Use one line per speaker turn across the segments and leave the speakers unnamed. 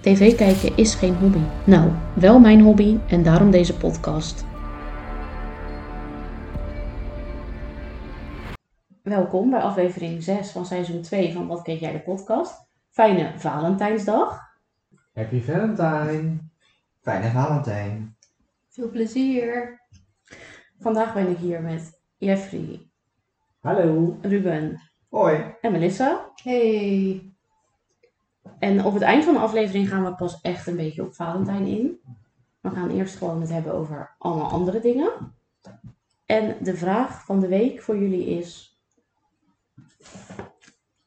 TV kijken is geen hobby. Nou, wel mijn hobby en daarom deze podcast. Welkom bij aflevering 6 van seizoen 2 van Wat Keek Jij de Podcast. Fijne Valentijnsdag.
Happy Valentine. Fijne Valentijn.
Veel plezier. Vandaag ben ik hier met Jeffrey,
Hallo.
Ruben
Hoi.
en Melissa.
Hey,
En op het eind van de aflevering gaan we pas echt een beetje op Valentijn in. We gaan eerst gewoon het hebben over allemaal andere dingen. En de vraag van de week voor jullie is: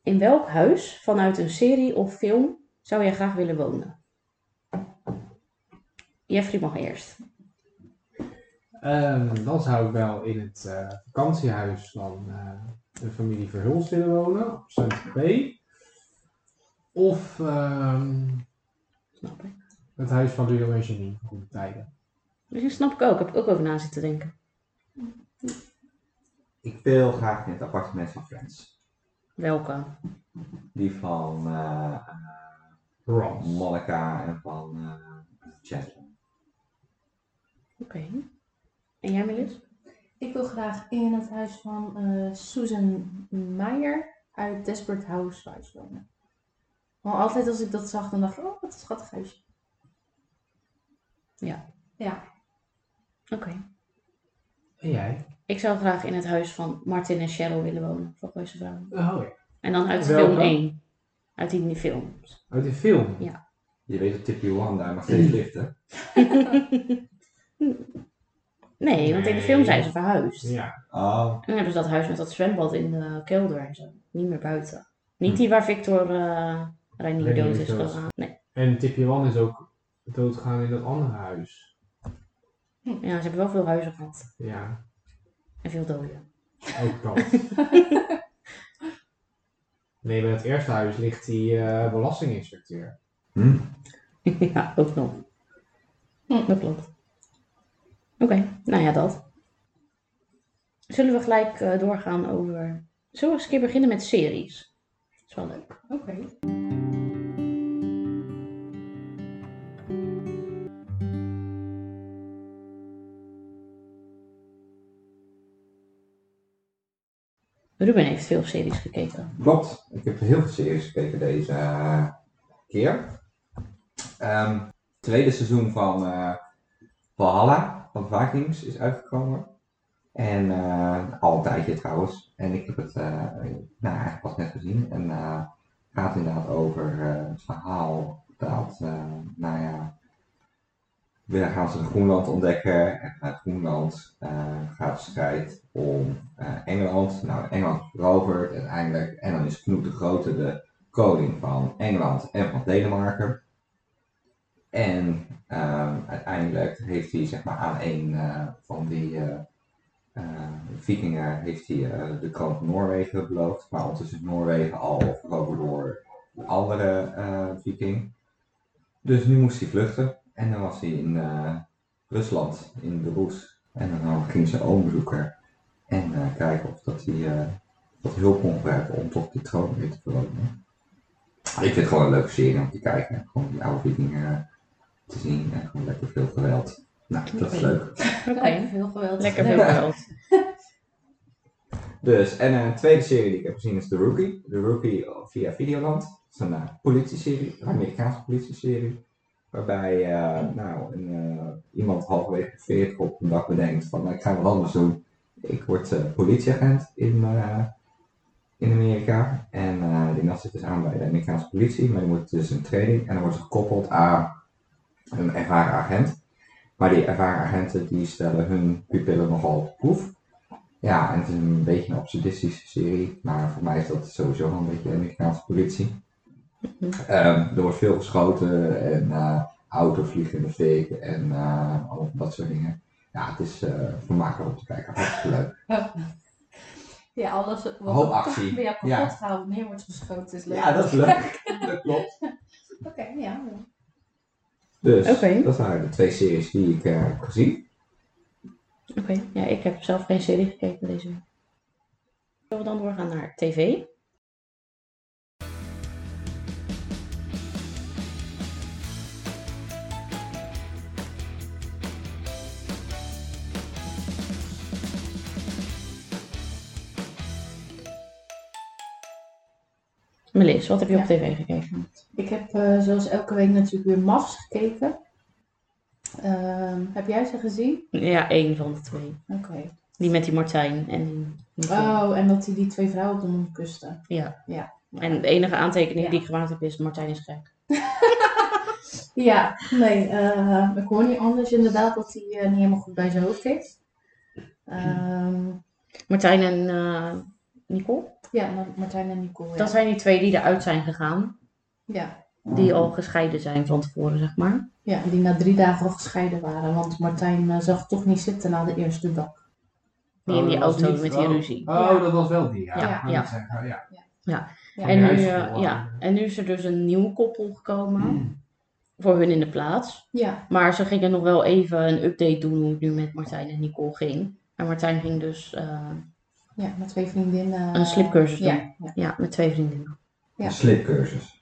In welk huis vanuit een serie of film zou jij graag willen wonen? Jeffrey mag eerst.
Ehm, dan zou ik wel in het eh, vakantiehuis van eh, de familie Verhulst willen wonen, op Sint P. Of ehm,
Snap ik.
het huis van Ludo en Janine, goede tijden.
Dus snap ik ook, heb ik ook over na zitten denken.
Ik wil graag in het appartement van Friends.
Welke?
Die van eh,
Ross.
Monica en van eh Jasmine.
Oké. En jij, Melis?
ik wil graag in het huis van eh, Susan Meyer uit Desperate Housewives wonen. Want altijd als ik dat zag, dan dacht ik, oh, wat een schattig huisje.
Ja.
Ja.
Oké.
En jij?
Ik zou graag in het huis van Martin en Cheryl willen wonen, van Gooise Vrouwen.
Oh ja.
En dan uit
Welke?
film 1. Uit die film.
Uit de film.
Ja.
Je weet dat Tippy Wanda nog steeds ligt, hè?
Nee, want in de
Nee.
film zijn ze verhuisd.
Ja.
Oh,
En dan hebben ze Nou dus dat huis met dat zwembad in de kelder en zo. Niet meer buiten. Niet die waar Victor eh Reinier
Hm. Reinier
dood
is
is
dood.
gegaan. Nee.
En Tippy Wan is ook doodgegaan in dat andere huis.
Ja, ze hebben wel veel huizen gehad.
Ja,
En veel doden.
ook dat. nee, bij het eerste huis ligt die eh, belastinginspecteur.
hm?
ja, ook nog.
Hm.
Dat klopt. Oké, nou ja, dat. Zullen we gelijk eh, doorgaan over... Zullen we eens een keer beginnen met series? Dat is wel leuk.
Oké.
Ruben heeft veel series gekeken.
Klopt, ik heb heel veel series gekeken deze eh, keer. Ehm, het tweede seizoen van eh Valhalla van Vikings is uitgekomen. En eh, al een tijdje trouwens. En ik heb het eh, nou, eigenlijk pas net gezien. En eh, het gaat inderdaad over eh, het verhaal dat, eh, nou ja, weer gaan ze Groenland ontdekken. En vanuit Groenland eh, gaat de strijd om eh, Engeland. Nou, Engeland verovert uiteindelijk. En dan is Knut de Grote de koning van Engeland en van Denemarken. En ehm, uiteindelijk heeft hij zeg maar, aan een eh, van die eh, eh, vikingen heeft hij, eh, de kroon van Noorwegen beloofd. Maar ondertussen is Noorwegen al veroverd door een andere eh, viking. Dus nu moest hij vluchten. En dan was hij in eh, Rusland, in de Roes. En dan ging zijn oom bezoeken. En eh, kijken of dat hij eh, wat hulp kon gebruiken om toch die troon weer te veroveren. Ik vind het gewoon een leuke serie om te kijken. Gewoon die oude vikingen eh, te zien. En gewoon lekker veel geweld. Nou, dat is
Oké.
leuk.
Oké,
Lekker veel geweld.
lekker veel
Leuk.
geld.
Dus, en een tweede serie die ik heb gezien is The Rookie. The Rookie eh, via Videoland. Dat is een eh, politieserie, een Amerikaanse politieserie. Waarbij eh, nou, een, eh, iemand halverwege de 40 op een dag bedenkt van "Nou, ik ga wat anders doen. Ik word eh, politieagent in, eh, in Amerika. En eh, die man zit dus aan bij de Amerikaanse politie. Maar die moet dus een training en dan wordt ze gekoppeld aan een ervaren agent. Maar die ervaren agenten die stellen hun pupillen nogal op proef. Ja, en het is een beetje een absurdistische serie, maar voor mij is dat sowieso wel een beetje Amerikaanse politie.
Mhm.
Ehm, er wordt veel geschoten en eh, autovliegende veken en eh, al dat soort dingen. Ja, het is eh vermakelijk om te kijken. Hartstikke leuk.
Ja, alles wat
Hoop
toch
actie.
weer kapot
Ja.
gehaald neer wordt geschoten is leuk.
Ja, dat is leuk. Dat klopt.
Oké, ja.
Dus
Oké.
dat waren de twee series die ik eh, heb gezien.
Oké, ja, ik heb zelf geen serie gekeken deze week. Zullen we dan doorgaan naar tv? Melis, wat heb je
Ja.
op tv gekeken?
Ik heb eh, zoals elke week natuurlijk weer MAFs gekeken. Ehm, heb jij ze gezien?
Ja, één van de twee.
Oké.
Die met die Martijn en die Nicole.
Oh, en dat hij die twee vrouwen op de mond kuste.
En de enige aantekening
Ja.
die ik gemaakt heb is Martijn is gek.
Ja, nee, eh, ik hoor niet anders inderdaad dat hij eh, niet helemaal goed bij zijn hoofd is. Ehm,
Martijn en eh, Nicole.
ja, Ma- Martijn en Nicole. Ja.
Dat zijn die twee die eruit zijn gegaan.
ja.
Die al gescheiden zijn van tevoren, zeg maar.
ja, die na drie dagen al gescheiden waren, want Martijn eh, zag het toch niet zitten na de eerste dag.
Die in
Oh,
die
dat was
auto
niet-
met die
oh.
ruzie.
Oh,
Ja.
dat was wel die, ja.
Ja,
Wou ik
ja.
zeggen, ja.
Ja.
En nu,
Hij is
eh,
verloren. Hmm.
ja, en nu is er dus een nieuw koppel gekomen. Voor hun in de plaats.
Ja,
Maar ze gingen nog wel even een update doen hoe het nu met Martijn en Nicole ging. En Martijn ging dus eh,
ja met twee vriendinnen.
een slipcursus doen. Ja.
Ja, ja.
met twee vriendinnen.
Ja.
Een slipcursus.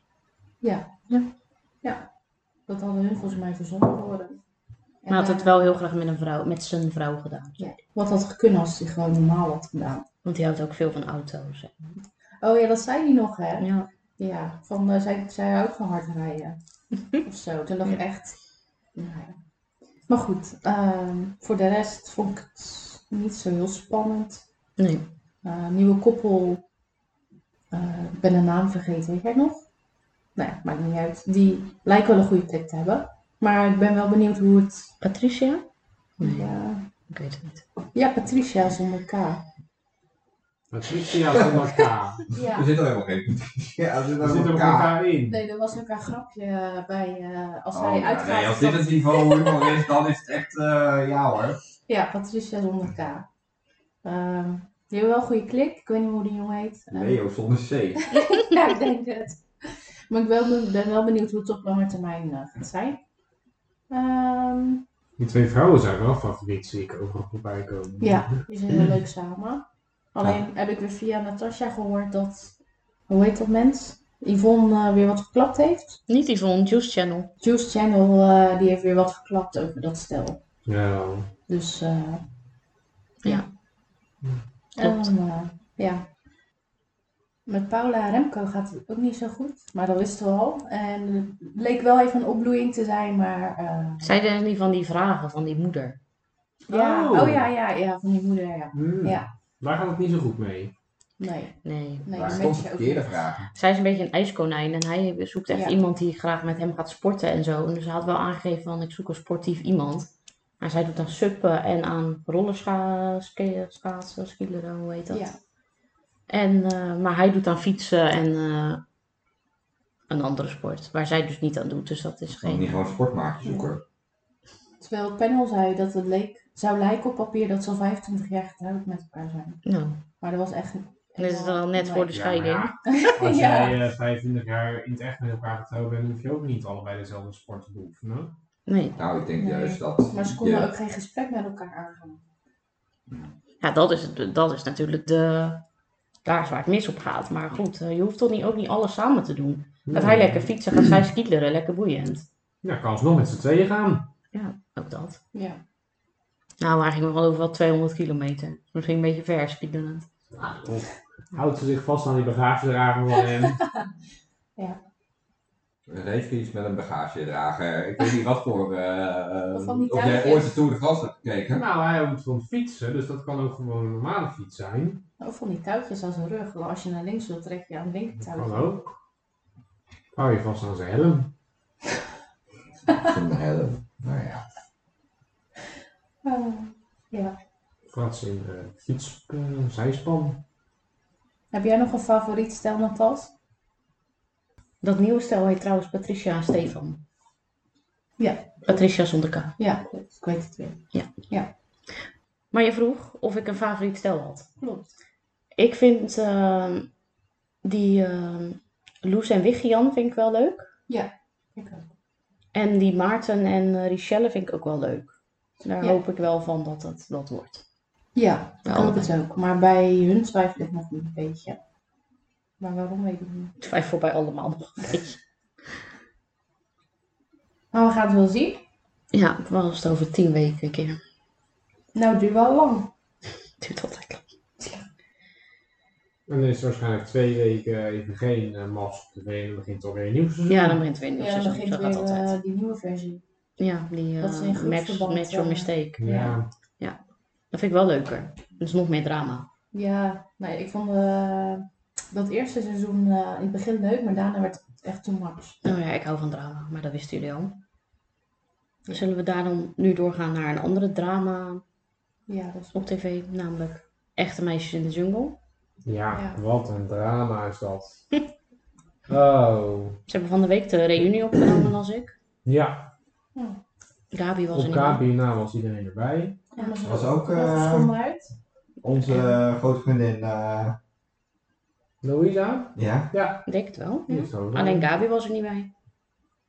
Dat hadden hun volgens mij verzonnen worden. En
Maar had het
daar-
wel heel graag met, een vrouw, met zijn vrouw gedaan.
Wat had gekund als hij gewoon normaal had gedaan.
Want die houdt ook veel van auto's.
Oh ja, dat zei hij nog, hè?
Ja.
Ja, van eh, zij, zij houdt van hard rijden. of zo. Toen dacht ik echt. nou ja. Maar goed, ehm, voor de rest vond ik het niet zo heel spannend.
Nee.
Eh, nieuwe koppel. eh, ik ben de naam vergeten, weet jij het nog? Nou ja, maakt niet uit. Die lijken wel een goede klik te hebben. Maar ik ben wel benieuwd hoe het.
Patricia?
Ja,
ik weet het niet.
ja Patricia zonder K.
Patricia zonder K.
Ja.
Er zit er helemaal geen. Ja, er zit
Daar zitten
helemaal
we
elkaar.
elkaar in.
Nee, er was ook een grapje eh, bij eh, als
Oh,
hij
ja,
uitgaat.
nee, als
dat-
dit het niveau humor is, dan is het echt, eh, ja hoor.
Ja, Patricia zonder K. Ehm, die heeft wel een goede klik. Ik weet niet hoe die jongen heet. Eh,
Leo zonder C.
ja, ik denk het. Maar ik wel- ben wel benieuwd hoe het op lange termijn eh, gaat zijn. Ehm,
Die twee vrouwen zijn wel favoriet, zie ik overal voorbij komen.
ja, die zijn heel leuk samen. Alleen heb ik weer via Natasja gehoord dat, hoe heet dat mens? Yvonne eh, weer wat verklapt heeft.
Niet Yvonne, Juice Channel.
Juice Channel eh, die heeft weer wat verklapt over dat stel.
Ja.
Dus eh,
Ja. Klopt.
En, eh, ja. Met Paula Remco gaat het ook niet zo goed, maar dat wisten we al. En het leek wel even een opbloeiing te zijn, maar. eh,
Zij deden niet van die vragen van die moeder.
ja.
Oh.
Oh ja, ja, ja, van die moeder, ja.
Hmm.
Ja.
Daar gaat het niet zo goed mee.
Nee,
Nee.
nee,
maar
dat
stond de
merk je ook
verkeerde
niet.
vraag.
Zij is een beetje een ijskonijn en hij zoekt echt
Ja.
iemand die graag met hem gaat sporten en zo. En dus hij had wel aangegeven van ik zoek een sportief iemand. Maar zij doet aan suppen en aan rollerschaatsen, skileren, hoe heet dat?
Ja,
En, eh, maar hij doet aan fietsen en eh, een andere sport. Waar zij dus niet aan doet, dus dat is
Gewoon
geen...
niet gewoon een sportmaatje zoeken.
terwijl het panel zei dat het leek, zou lijken op papier dat ze al 25 jaar getrouwd met elkaar zijn.
Nou,
Maar dat was echt.
dan is het dan net
Nee.
voor de
Ja, maar
scheiding.
ja, als
Ja.
jij eh 25 jaar in het echt met elkaar getrouwd bent, hoef je ook niet allebei dezelfde sport te beoefenen.
Nee.
Nou, ik denk
Nee.
juist dat.
Maar ze
je-
konden ook geen gesprek met elkaar aangaan.
Ja, dat is, het- dat is natuurlijk de, daar is waar het mis op gaat. Maar goed, eh, je hoeft toch niet, ook niet alles samen te doen. Gaat hij lekker fietsen, gaat zij skileren, lekker boeiend.
Ja, Nou, kan alsnog met z'n tweeën gaan.
Ook dat.
Ja.
Nou, hij ging wel over wel 200 kilometer. Misschien een beetje ver skileren.
Of Ah, houdt ze zich vast aan die bagagedrager van hem.
Een racefiets met een bagagedrager. Ik weet niet wat voor. eh,
Wat van die
of jij
touwtjes.
ooit de Tour de France hebt gekeken.
nou, hij houdt van fietsen, dus dat kan ook gewoon een normale fiets zijn.
Ook van die touwtjes aan zijn rug. Als je naar links wilt, trek je aan het
Dat
linkertouwtje.
kan ook. Hou je vast aan zijn helm.
Zonder helm. Nou ja.
Ah.
Plaats in de fiets, eh, zijspan.
Heb jij nog een favoriet stel, Natas?
Dat nieuwe stel heet trouwens Patricia en Stefan.
Ja.
Patricia zonder K.
Ja, klopt. Ik weet het weer.
Maar je vroeg of ik een favoriet stel had.
Klopt.
Ik vind ehm, die ehm Loes en Wichian vind ik wel leuk.
Ik ook.
En die Maarten en eh, Richelle vind ik ook wel leuk. Daar
Ja.
hoop ik wel van dat het dat wordt.
Ja, ik hoop
Allebei.
het ook. Maar bij hun twijfel ik nog een beetje. Maar waarom weet ik niet.
Ik twijfel bij allemaal nog een beetje.
Maar we gaan het wel zien.
Ja, het was het over tien weken een keer.
Nou, het duurt wel lang.
Het duurt altijd lang.
En dan is er waarschijnlijk twee weken even geen eh, mas op tv en dan begint alweer een nieuw seizoen.
Ja, dan begint het weer een nieuw
Ja, dan
seizoen.
begint
Zo
weer
gaat het altijd.
eh, die nieuwe versie.
Ja, die eh
dat is in
match,
groepsverband,
match or
eh,
mistake.
Ja.
Dat vind ik wel leuker. Dat is nog meer drama.
Ja, nee, ik vond eh, dat eerste seizoen eh, in het begin leuk, maar daarna werd het echt too much.
Nou ja, ik hou van drama, maar dat wisten jullie al. Zullen we daarom nu doorgaan naar een andere drama
Ja, dat is
op tv, namelijk Echte Meisjes in de Jungle.
Ja,
Ja.
wat een drama is dat. oh.
Ze hebben van de week de reunie opgenomen als ik.
Ja,
Gabi was er
op
niet. bij.
KBNA was iedereen erbij.
Ja, maar ze
Was ook,
zag er
eh,
stom uit.
Onze grote vriendin, eh,
Louisa?
ja,
Ja.
Ik denk het wel.
die is er ook
Alleen
bij.
Gabi was er niet bij.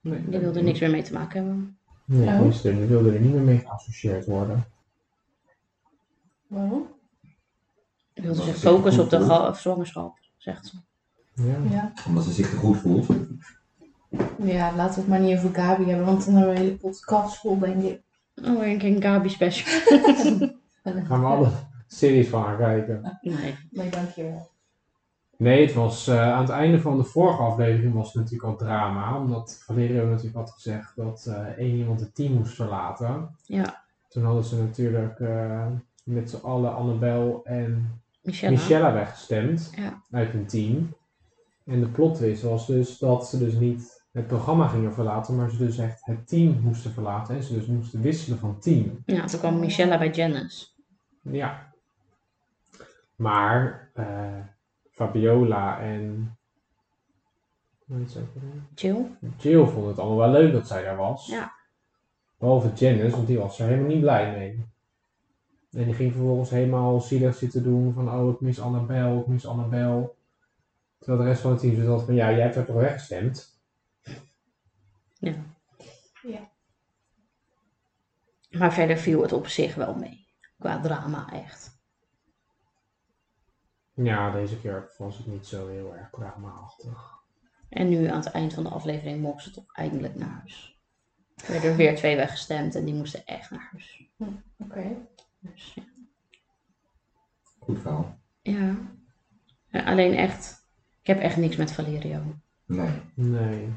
Nee,
Die wilde niks meer mee te maken hebben.
Nee,
Nou.
tenminste, die wilde er niet meer mee geassocieerd worden.
Waarom?
Die wilde
Dat
zich
is zeker
focussen op de
goed,
ga- zwangerschap, zegt ze.
Ja.
Ja.
omdat ze zich te goed voelt.
ja, laten we het maar niet over Gabi hebben, want dan hebben we een hele podcast vol, denk ik.
Oh, een keer een Gabi special.
Gaan we alle series van haar kijken.
Nee.
Nee, dankjewel.
Nee, het was, eh, aan het einde van de vorige aflevering was het natuurlijk al drama. Omdat Valerio natuurlijk had gezegd dat eh, één iemand het team moest verlaten.
Ja.
Toen hadden ze natuurlijk eh, met z'n allen Annabel en
Michelle.
Michelle weggestemd
Ja.
uit hun team. En de plotwist was dus dat ze dus niet het programma gingen verlaten, maar ze dus echt het team moesten verlaten en ze dus moesten wisselen van team.
Ja, toen kwam Michelle bij Janice.
Ja. Maar eh, Fabiola en hoe heet ze ook alweer?
Jill.
Jill vonden het allemaal wel leuk dat zij daar was.
Ja.
Behalve Janice, want die was er helemaal niet blij mee. En die ging vervolgens helemaal zielig zitten doen van oh ik mis Annabel, ik mis Annabel. Terwijl de rest van het team zat van ja, jij hebt er toch weggestemd?
Maar verder viel het op zich wel mee. Qua drama echt.
Ja, deze keer was het niet zo heel erg dramaachtig.
En nu aan het eind van de aflevering mocht ze toch eindelijk naar huis. Er werden er weer twee weggestemd en die moesten echt naar huis.
Oké.
Dus, ja.
Goed verhaal.
ja. Ja, Alleen echt, ik heb echt niks met Valerio.
Nee.
Nee.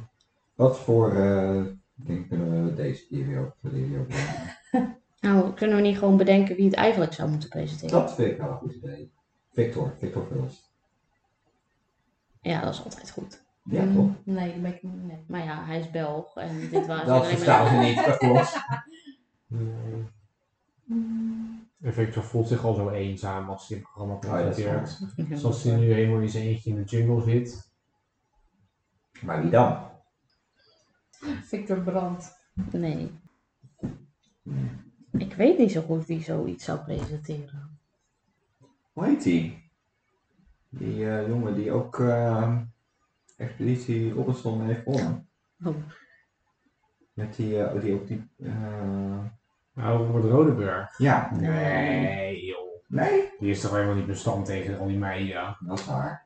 Wat voor eh ding kunnen we deze keer weer op eh, weer op-
Nou, kunnen we niet gewoon bedenken wie het eigenlijk zou moeten presenteren?
Dat vind ik wel een goed idee. Victor, Victor Vuls.
Ja, dat is altijd goed.
Ja, toch?
Mm, Nee, dat ben ik niet. Nee.
Maar ja, hij is Belg en dit waren
Dat
alleen maar-
verstaan ze niet, dat klopt.
nee. En Victor Mm. voelt zich al zo eenzaam als hij het programma
Ja, dat is
presenteert.
waar.
Ja,
Zoals hij nu helemaal in zijn eentje in de jungle zit.
Maar wie dan?
Victor Brandt.
Nee. Ik weet niet zo goed wie zoiets zou presenteren.
Hoe heet die? Die eh, jongen die ook eh, Expeditie Robinson heeft gewonnen.
Oh.
Met die, eh, die ook die... eh,
Nou, Robert Rodeburg.
ja.
Nee, joh.
Nee?
Die is toch helemaal niet bestand tegen al die meiden.
Dat is waar.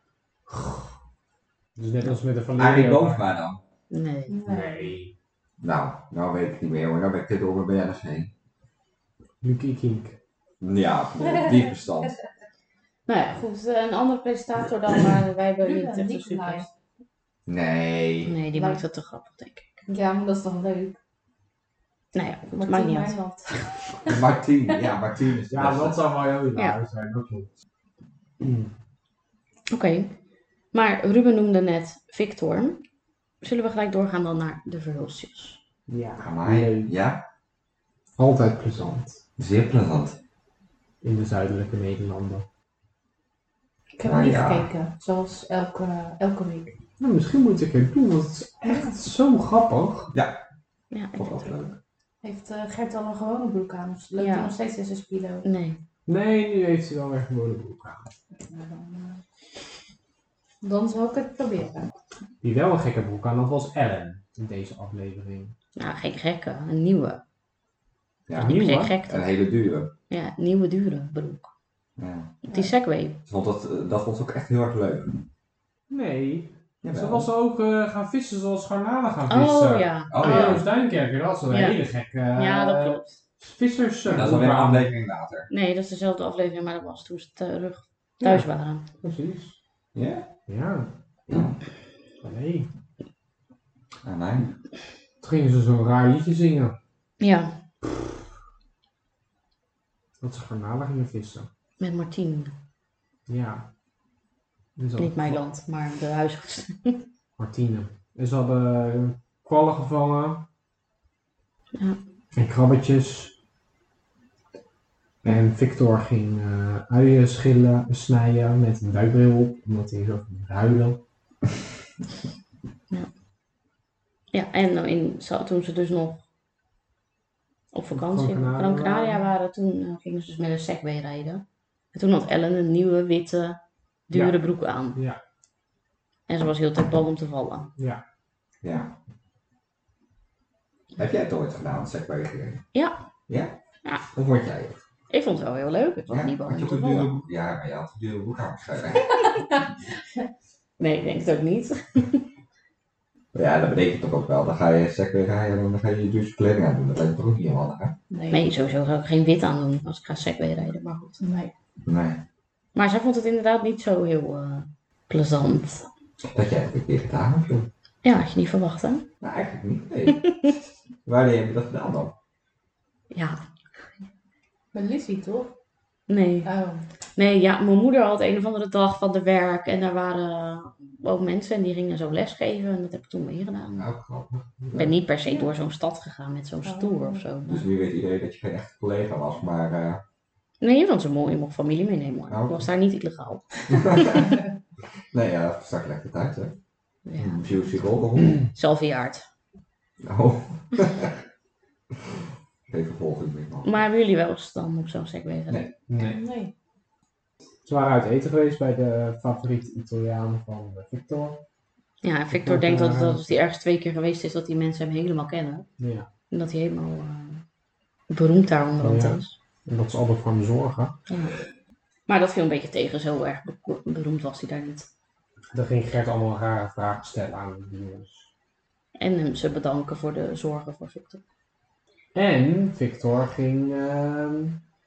Dus net als met de Valerio.
Arie Boomsma dan?
Nee.
Nee.
Nou, nou weet ik niet meer hoor. Nou ben ik dit over bij Dennis heen.
Lucky Kink.
Ja, die bestand.
Nou ja, goed. eh, Een andere presentator dan, maar wij hebben niet echt een super.
Nee.
Nee, die
Maar-
maakt dat te grappig, denk ik.
Ja, maar dat is toch leuk.
Nou ja, goed. Maakt
Martien
niet uit.
Meiland.
Martien, ja, Martien is
Ja, Mm. dat
dat.
zou wel heel hilarisch zijn, dat klopt.
Oké. Maar Ruben noemde net Victor. Zullen we gelijk doorgaan dan naar de verhulstjes?
Ja,
Amai. Ja,
Altijd plezant.
zeer plezant.
In de zuidelijke Nederlanden.
Ik heb
Ah,
niet
ja.
gekeken, zoals elke, elke week.
Nou, misschien moet ik het doen, want het is echt zo grappig.
Ja, ik
Vond ik
vind
altijd
het ook.
leuk.
Heeft eh, Gert al een gewone broek aan? Dus loopt
Ja.
hij nog steeds in zijn spido?
Nee.
Nee, nu heeft hij wel weer een gewone broek aan.
Nou, dan, eh, dan zal ik het proberen.
Die wel een gekke broek aan had, was Ellen in deze aflevering.
Nou, geen gekke. Een nieuwe.
Ja,
nieuw,
geen
hè?
gekte.
een hele dure.
Ja, nieuwe dure broek.
Ja.
Die Segway.
Ze Vond dat, eh, dat vond ze ook echt heel erg leuk.
Nee, ze
Jawel.
was ook eh, gaan vissen zoals garnalen gaan vissen.
Oh ja.
Oh
ja.
ja.
Joost Duinkerker, dat was een
Ja.
hele gekke eh,
Ja, dat klopt.
vissers. eh,
Dat is alweer een aflevering later.
Nee, dat is dezelfde aflevering, maar dat was toen ze terug thuis waren.
Precies.
Ja?
Ja,
Ja.
nee.
Ah, nee.
Toen gingen ze zo'n raar liedje zingen.
Ja,
Dat ze garnalen gingen vissen.
met Martien.
Ja. Dus dat-
Niet mijn land, maar de huisarts.
Martine. En ze hadden eh, kwallen gevangen.
Ja.
En krabbetjes. En Victor ging eh uien schillen, snijden met een duikbril op, omdat hij zo ging huilen.
Ja, en nou, in, zo- toen ze dus nog op vakantie
Gran
in
Canaria
Gran Canaria
waren.
waren, toen eh, gingen ze dus met een Segway rijden. En toen had Ellen een nieuwe, witte, dure
Ja.
broek aan.
Ja,
En ze was heel tijd bang om te vallen.
ja.
Ja. Heb jij het ooit gedaan, segwaygereden?
Ja.
Ja?
Ja.
Hoe vond jij het?
Ik vond het wel heel leuk. Het was
Ja?
niet bang
Had je
om
ook
te
een
vallen.
dure broek? Ja, maar je had een dure broek aan waarschijnlijk.
Nee, ik denk het ook niet.
Ja, dat betekent toch ook wel. Dan ga je segway rijden en dan ga je je douche kleding aan doen. Dat lijkt me toch ook niet heel handig, hè?
Nee, sowieso zou ik geen wit aan doen als ik ga Segway rijden. Maar goed.
Nee.
Nee.
Maar zij vond het inderdaad niet zo heel eh, plezant.
Dat jij het een keer gedaan hebt, joh.
Ja, had je niet verwacht, hè?
Nou, eigenlijk niet. Nee. Wanneer heb je dat gedaan dan?
Ja.
Met Lizzie toch?
Nee.
Oh.
Nee, ja, mijn moeder had een of andere dag van de werk. En daar waren ook mensen en die gingen zo lesgeven. En dat heb ik toen meegedaan.
Nou, grappig.
Ik ben niet per se door zo'n stad gegaan met zo'n stoer of zo.
Dus nu weet iedereen dat je geen echte collega was, maar... eh,
Nee, want ze mooi, je mocht familie meenemen. hoor.
Oh.
Dat was daar niet illegaal.
nee, ja, dat stak lekker tijd, hè?
Ja.
Juicy roll.
Zelf verjaard.
Oh. Geen vervolging meer, man.
Maar hebben jullie wel eens dan op zo'n segway geweest?
Nee.
Nee.
Nee.
Ze waren uit eten geweest bij de favoriete Italiaan van eh, Victor.
Ja, en Victor
Ik
denkt
ook,
dat,
eh,
dat als hij ergens twee keer geweest is, dat die mensen hem helemaal kennen.
Ja.
En dat hij helemaal eh, beroemd daar onderhand
Ja.
is.
En dat ze altijd voor hem zorgen.
Ja. Maar dat viel een beetje tegen, zo erg beko- beroemd was hij daar niet.
Dan ging Gert allemaal rare vragen stellen aan de jongens.
En hem ze bedanken voor de zorgen voor Victor.
En Victor ging ehm,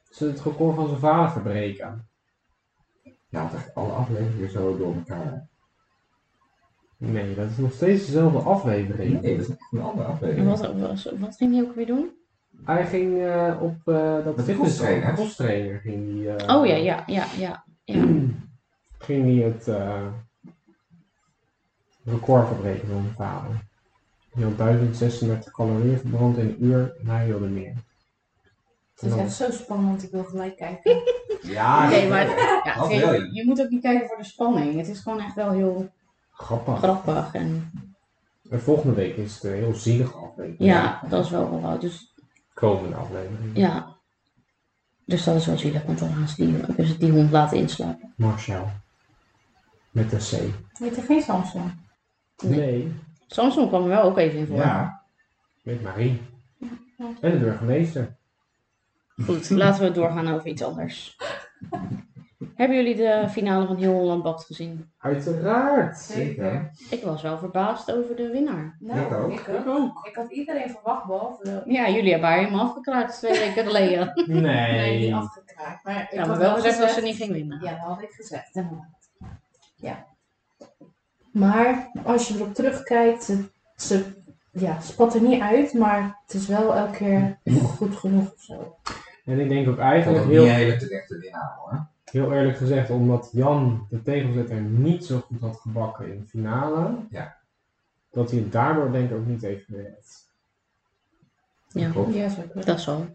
ze het record van zijn vader verbreken.
Ja, het echt alle afleveringen zo door elkaar.
Nee, dat is nog steeds dezelfde aflevering.
Nee, dat is echt een andere
En
aflevering.
wat, was- wat ging hij ook weer doen?
Hij ging eh, op eh dat
Met de
fitness
kosttrainer.
kosttrainer ging hij. eh,
Oh ja, ja, ja, ja. ja.
Ging hij het eh, record verbreken van zijn vader. Hij had 1036 calorieën verbrand in een uur en hij wilde meer.
Het is
Nou.
echt zo spannend. Ik wil gelijk kijken.
Ja,
Nee,
dat-
maar ja,
Wat
kijk,
wil je?
je moet ook niet kijken voor de spanning. Het is gewoon echt wel heel
Grappig.
grappig. En
En volgende week is het een heel zielige aflevering.
ja, dat is wel wel. Dus
Komende aflevering.
ja. Dus dat is wel zielig, want dan gaan ze die, dus die hond laten inslapen.
Marcel. Met een C.
Weet je geen Samsung?
Nee. Samson kwam er wel ook even in voor.
Ja,
Met Marie. En de burgemeester.
Goed, laten we doorgaan over iets anders. Hebben jullie de finale van Heel Holland Bakt gezien?
Uiteraard.
zeker.
Ik was wel verbaasd over de winnaar.
Nou,
Ik ook.
Ik, ook.
ook.
ik had iedereen verwacht, behalve de...
Ja, jullie hebben haar helemaal afgekraakt twee weken geleden.
Nee.
Nee, niet afgekraakt. Maar ik
Ja,
had
maar wel gezegd dat ze niet ging winnen.
Ja, dat had ik gezegd, inderdaad. Ja. Maar als je erop terugkijkt, ze, ze ja, spat er niet uit, maar het is wel elke keer goed genoeg of zo.
En ik denk ook
Ik vond
eigenlijk
het niet een
heel,
hele terechte winnaar, hoor.
heel eerlijk gezegd, omdat Jan de tegenzetter niet zo goed had gebakken in de finale.
Ja.
Dat hij het daardoor denk ik ook niet heeft gered.
Ja.
Klopt.
Ja, zo. kunnen.
Dat zal.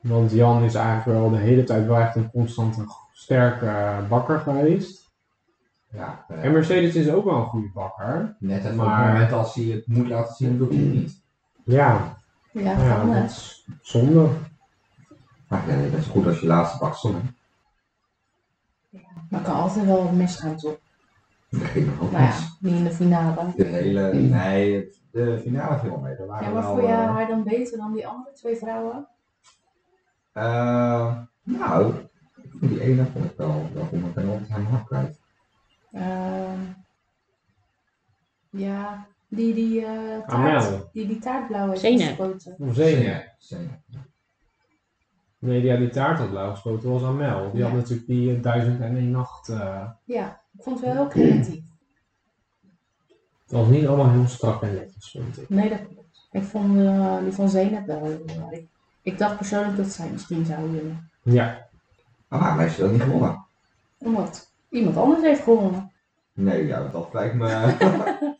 Want Jan is eigenlijk wel de hele tijd wel echt een constante sterke bakker geweest.
Ja, eh,
En Mercedes is ook wel een goede bakker.
net even op
maar-
het moment als hij het moet laten zien, doet hij het niet.
Ja,
Ja,
Nou
van,
ja,
eh,
dat is zonde.
Maar ja, dat is goed als je laatste bak stond. hè.
maar kan altijd wel wat misgaan, toch?
Dat ging nog ook
Nou
mis.
ja, niet in de finale.
De hele, nee, de finale viel mee. Er waren
Ja, maar
wel,
voel je
eh,
haar dan beter dan die andere twee vrouwen?
eh, nou, ik vond die ene vond ik wel, wel goed, maar ik ben altijd haar naam kwijt.
Ehm, ja, die die, eh,
Amel.
taart, die, die taartblauw heeft
Zeynep.
gespoten.
Of zenuw.
Zenia, Zenia.
Nee, die had die taart had blauw gespoten, was aan Mel. Die
Ja.
had natuurlijk die eh, duizend en één nacht. eh,
Ja, ik vond het wel heel creatief.
het was niet allemaal heel strak en netjes, vond ik.
Nee, dat klopt. Ik vond eh, die van Zeynep wel heel mooi. Ik, ik dacht persoonlijk dat zij misschien zou winnen.
Ja,
Maar waarom heeft ze dat niet gewonnen?
Omdat iemand anders heeft gewonnen.
Nee, ja, dat lijkt me...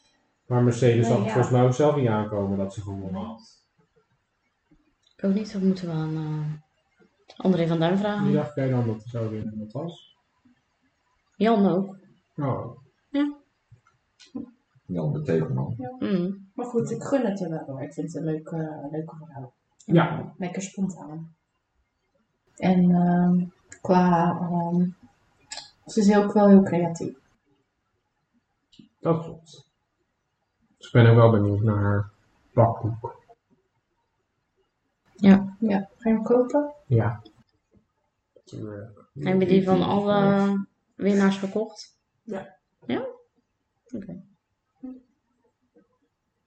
maar Mercedes
Nee,
had het
ja.
volgens mij ook zelf niet aankomen dat ze gewonnen had.
Ik ook niet, dat moeten we aan eh, André van Duin vragen.
Die dacht jij dan dat ze zou winnen en dat was?
Jan ook.
Nou,
Jan de Tegelman.
Mm.
Maar goed, ik gun het er wel door. Ik vind het een leuke, leuke vrouw.
Ja.
Lekker spontaan. En ehm, qua... ehm, ze is ook wel heel creatief.
dat klopt. Dus ik ben ook wel benieuwd naar haar bakboek.
Ja, ga je hem kopen?
Ja. Tuurlijk.
Hebben jullie die van alle winnaars verkocht?
Ja.
Ja? Oké.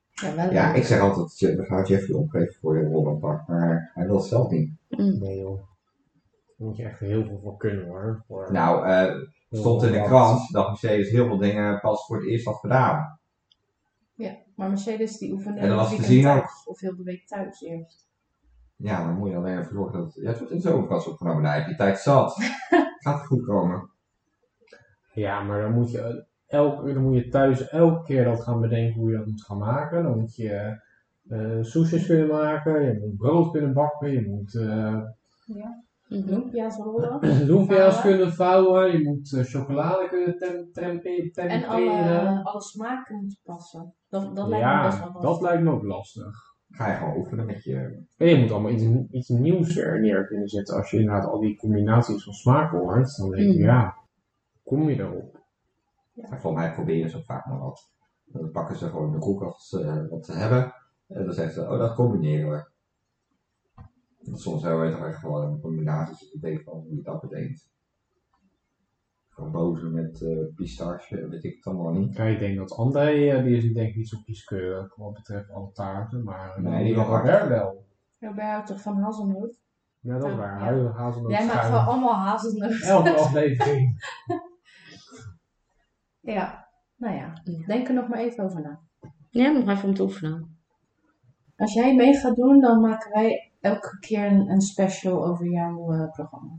Ja, wel
Ja, ik zeg altijd, je- we gaan Jeffrey opgeven voor je rollenpak, maar hij wil het zelf niet.
Mm.
Nee joh. Daar moet je echt heel veel voor kunnen hoor. Voor-
Nou, eh, stond in de krant dat Mercedes heel veel dingen pas voor het eerst had gedaan.
Maar Mercedes die oefende
En dat was
het
te
weekend
zien ook.
thuis, Of heel de week thuis eerst.
Ja, dan moet je alleen ervoor zorgen dat... Ja, het wordt in de zomerkast opgenomen, nou, heb je tijd zat. Gaat het goed komen.
Ja, maar dan moet, je eh, elke, dan moet je thuis elke keer dat gaan bedenken hoe je dat moet gaan maken. Dan moet je eh soesjes kunnen maken, je moet brood kunnen bakken, je moet eh
Mhm.
Lumpia's rollen.
loempia's
Vouwen.
kunnen vouwen, je moet eh, chocolade kunnen tem- tempe-
En
temperen.
alle, alle smaken moeten passen. Dat, dat lijkt me best
Ja,
wel lastig.
dat lijkt me ook lastig.
Ga je gewoon oefenen met je...
En je moet allemaal iets, iets nieuws er neer kunnen zetten. Als je inderdaad al die combinaties van smaken hoort, dan denk je,
Mm.
ja, kom je erop?
Maar volgens mij proberen ze ook vaak maar wat. Dan pakken ze gewoon de koelkast als ze eh, wat ze hebben. En dan zeggen ze, oh, dat combineren we. Want soms hebben we toch echt gewoon een combinatie dat je denkt van hoe je dat bedenkt. Gewoon bozen met eh pistache, weet ik het allemaal niet.
Ja, ik denk dat André, eh, die is denk ik niet zo kieskeurig wat betreft alle taarten, maar eh,
Nee, die wel
Robert
hard.
wel.
Robert houdt toch van hazelnoot?
Ja, dat is
Ja.
waar. Hij hazelnoot
Jij maakt
schuim.
gewoon allemaal hazelnoot.
Elke aflevering.
Ja, nou ja.
Ja.
Denk er nog maar even over na.
Ja, nog even om te oefenen.
Als jij mee gaat doen, dan maken wij elke keer een, een special over jouw eh, programma.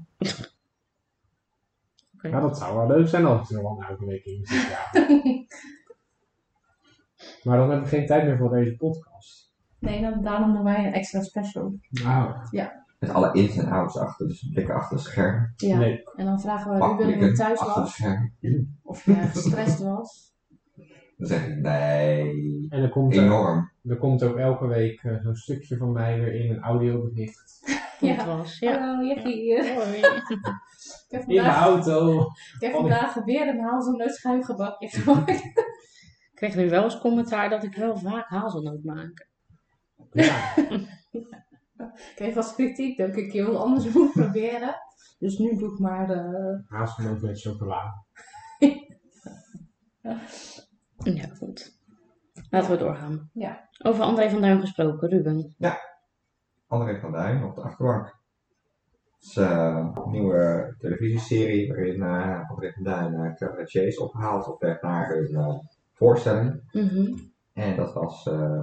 Ja, dat zou wel leuk zijn als er wel elke week in zit. Ja. maar dan hebben we geen tijd meer voor deze podcast.
Nee, dan, daarom doen wij een extra special.
Nou,
Met alle ins en outs achter, dus blikken achter het scherm.
Ja.
nee.
En dan vragen we Ruben hoe
Bakblikken
je thuis
achter het
was.
scherm.
Of je gestrest was.
Dan zeg ik, nee,
En er komt, eh,
enorm.
er komt ook elke week eh, zo'n stukje van mij weer in een audiobericht.
Hoe
Ja.
het was. Ja.
Hallo, Jeffy hier.
Hoi.
Ik heb
In de
vandaag,
auto.
ik heb vandaag weer een hazelnoot schuimgebakje gemaakt.
Ik kreeg nu wel eens commentaar dat ik wel vaak hazelnoot maak.
Ja,
Ik kreeg als kritiek dat ik een keer wat anders moet proberen. Dus nu doe ik maar eh, de...
hazelnoot met chocola.
Ja, goed. Laten we doorgaan.
Ja.
Over André van Duin gesproken, Ruben.
André van Duin op de achterbank. Het is eh, een nieuwe televisieserie waarin eh André van Duin eh cabaretiers ophaalt op weg naar een eh, voorstelling.
Mhm.
En dat was eh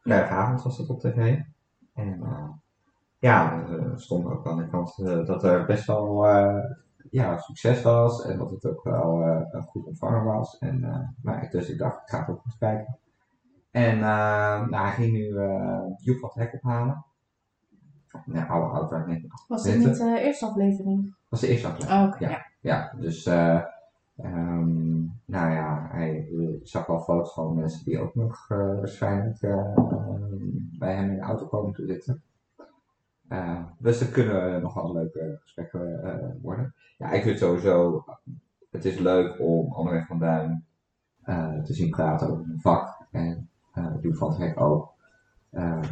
vrijdagavond was dat op tv. En eh, ja, er stond ook aan de kant eh, dat er best wel eh, ja, succes was en dat het ook wel eh, goed ontvangen was. En, eh, maar, dus ik dacht, ik ga het ook eens kijken. En eh, nou, hij ging nu eh Joep van het Hek ophalen. Nou, oude auto uit 1998.
Was dit niet de eerste aflevering? Ah,
Dat was de eerste aflevering.
Oh, oké.
Ja. Ja, dus eh, ehm, nou ja, hij eh, zag wel foto's van mensen die ook nog eh, waarschijnlijk eh, bij hem in de auto komen te zitten. Eh, dus dat kunnen nog wel leuke gesprekken eh, worden. Ja, ik vind het sowieso, het is leuk om Anderweg van Duin eh, te zien praten over een vak. En eh die van het hek ook. Ehm,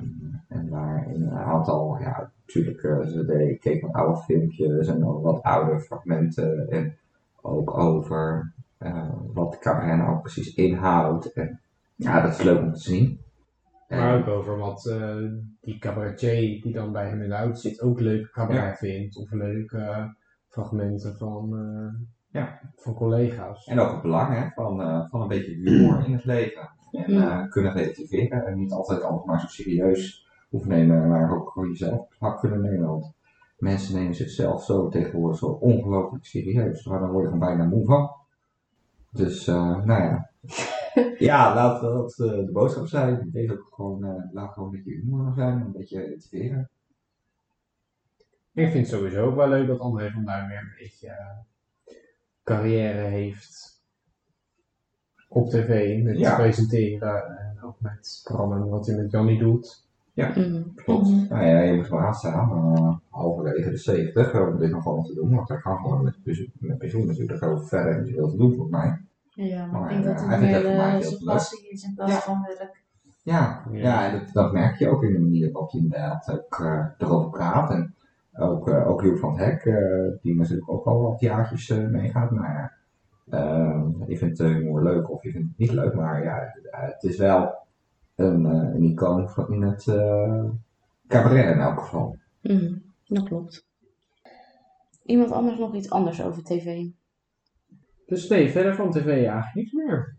en waar in een aantal, ja, natuurlijk, eh, ze deden- ik keek naar oude filmpjes en nog wat oude fragmenten. En ook over eh, wat cabaret nou precies inhoudt. En, ja, dat is leuk om te zien. En-
Maar ook over wat eh, die cabaretier die dan bij hem in de auto zit ook leuke cabaret vindt. Of leuke eh, fragmenten van, eh,
Ja.
van collega's.
En ook het belang hè, van, eh, van een beetje humor in het leven. En eh, kunnen relativeren. En niet altijd alles maar zo serieus hoeven nemen, maar ook voor jezelf op het hak kunnen nemen. Want mensen nemen zichzelf zo tegenwoordig zo ongelooflijk serieus. Maar dan word je gewoon bijna moe van. Dus, eh, nou ja. ja, laat dat eh, de boodschap zijn. Wees ook gewoon, eh, laat gewoon een beetje humor zijn, een beetje relativeren.
Ik vind het sowieso ook wel leuk dat André van Duin weer een beetje eh, carrière heeft op tv. Met
Ja.
presenteren en ook met programma's wat hij met Jannie doet.
Mm.
Klopt.
Mhm.
Nou ja, je moet wel aanstaan. eh halverwege de 70 om dit nog allemaal te doen. Want daar gaan gewoon met, pens- met pensioen natuurlijk over verder. En is heel te doen volgens mij.
Ja, maar
Maar,
ik denk dat
eh,
het
hij vindt
meer
dat voor mij
eh,
heel
zijn
leuk.
passie is in plaats
Ja.
van eh, werk.
Ja,
Ja.
ja. en dat, dat merk je ook in de manier waarop hij inderdaad ook, eh, erover praat. En ook, eh ook Joep van het Hek, eh, die natuurlijk ook al wat jaartjes eh, meegaat. Maar eh, je vindt eh, humor leuk of je vindt het niet leuk. Maar ja, eh, het is wel een, eh, een icoon van in het eh, cabaret in elk geval.
Mm. Dat klopt. Iemand anders nog iets anders over tv?
Dus nee, verder van tv eigenlijk niks meer.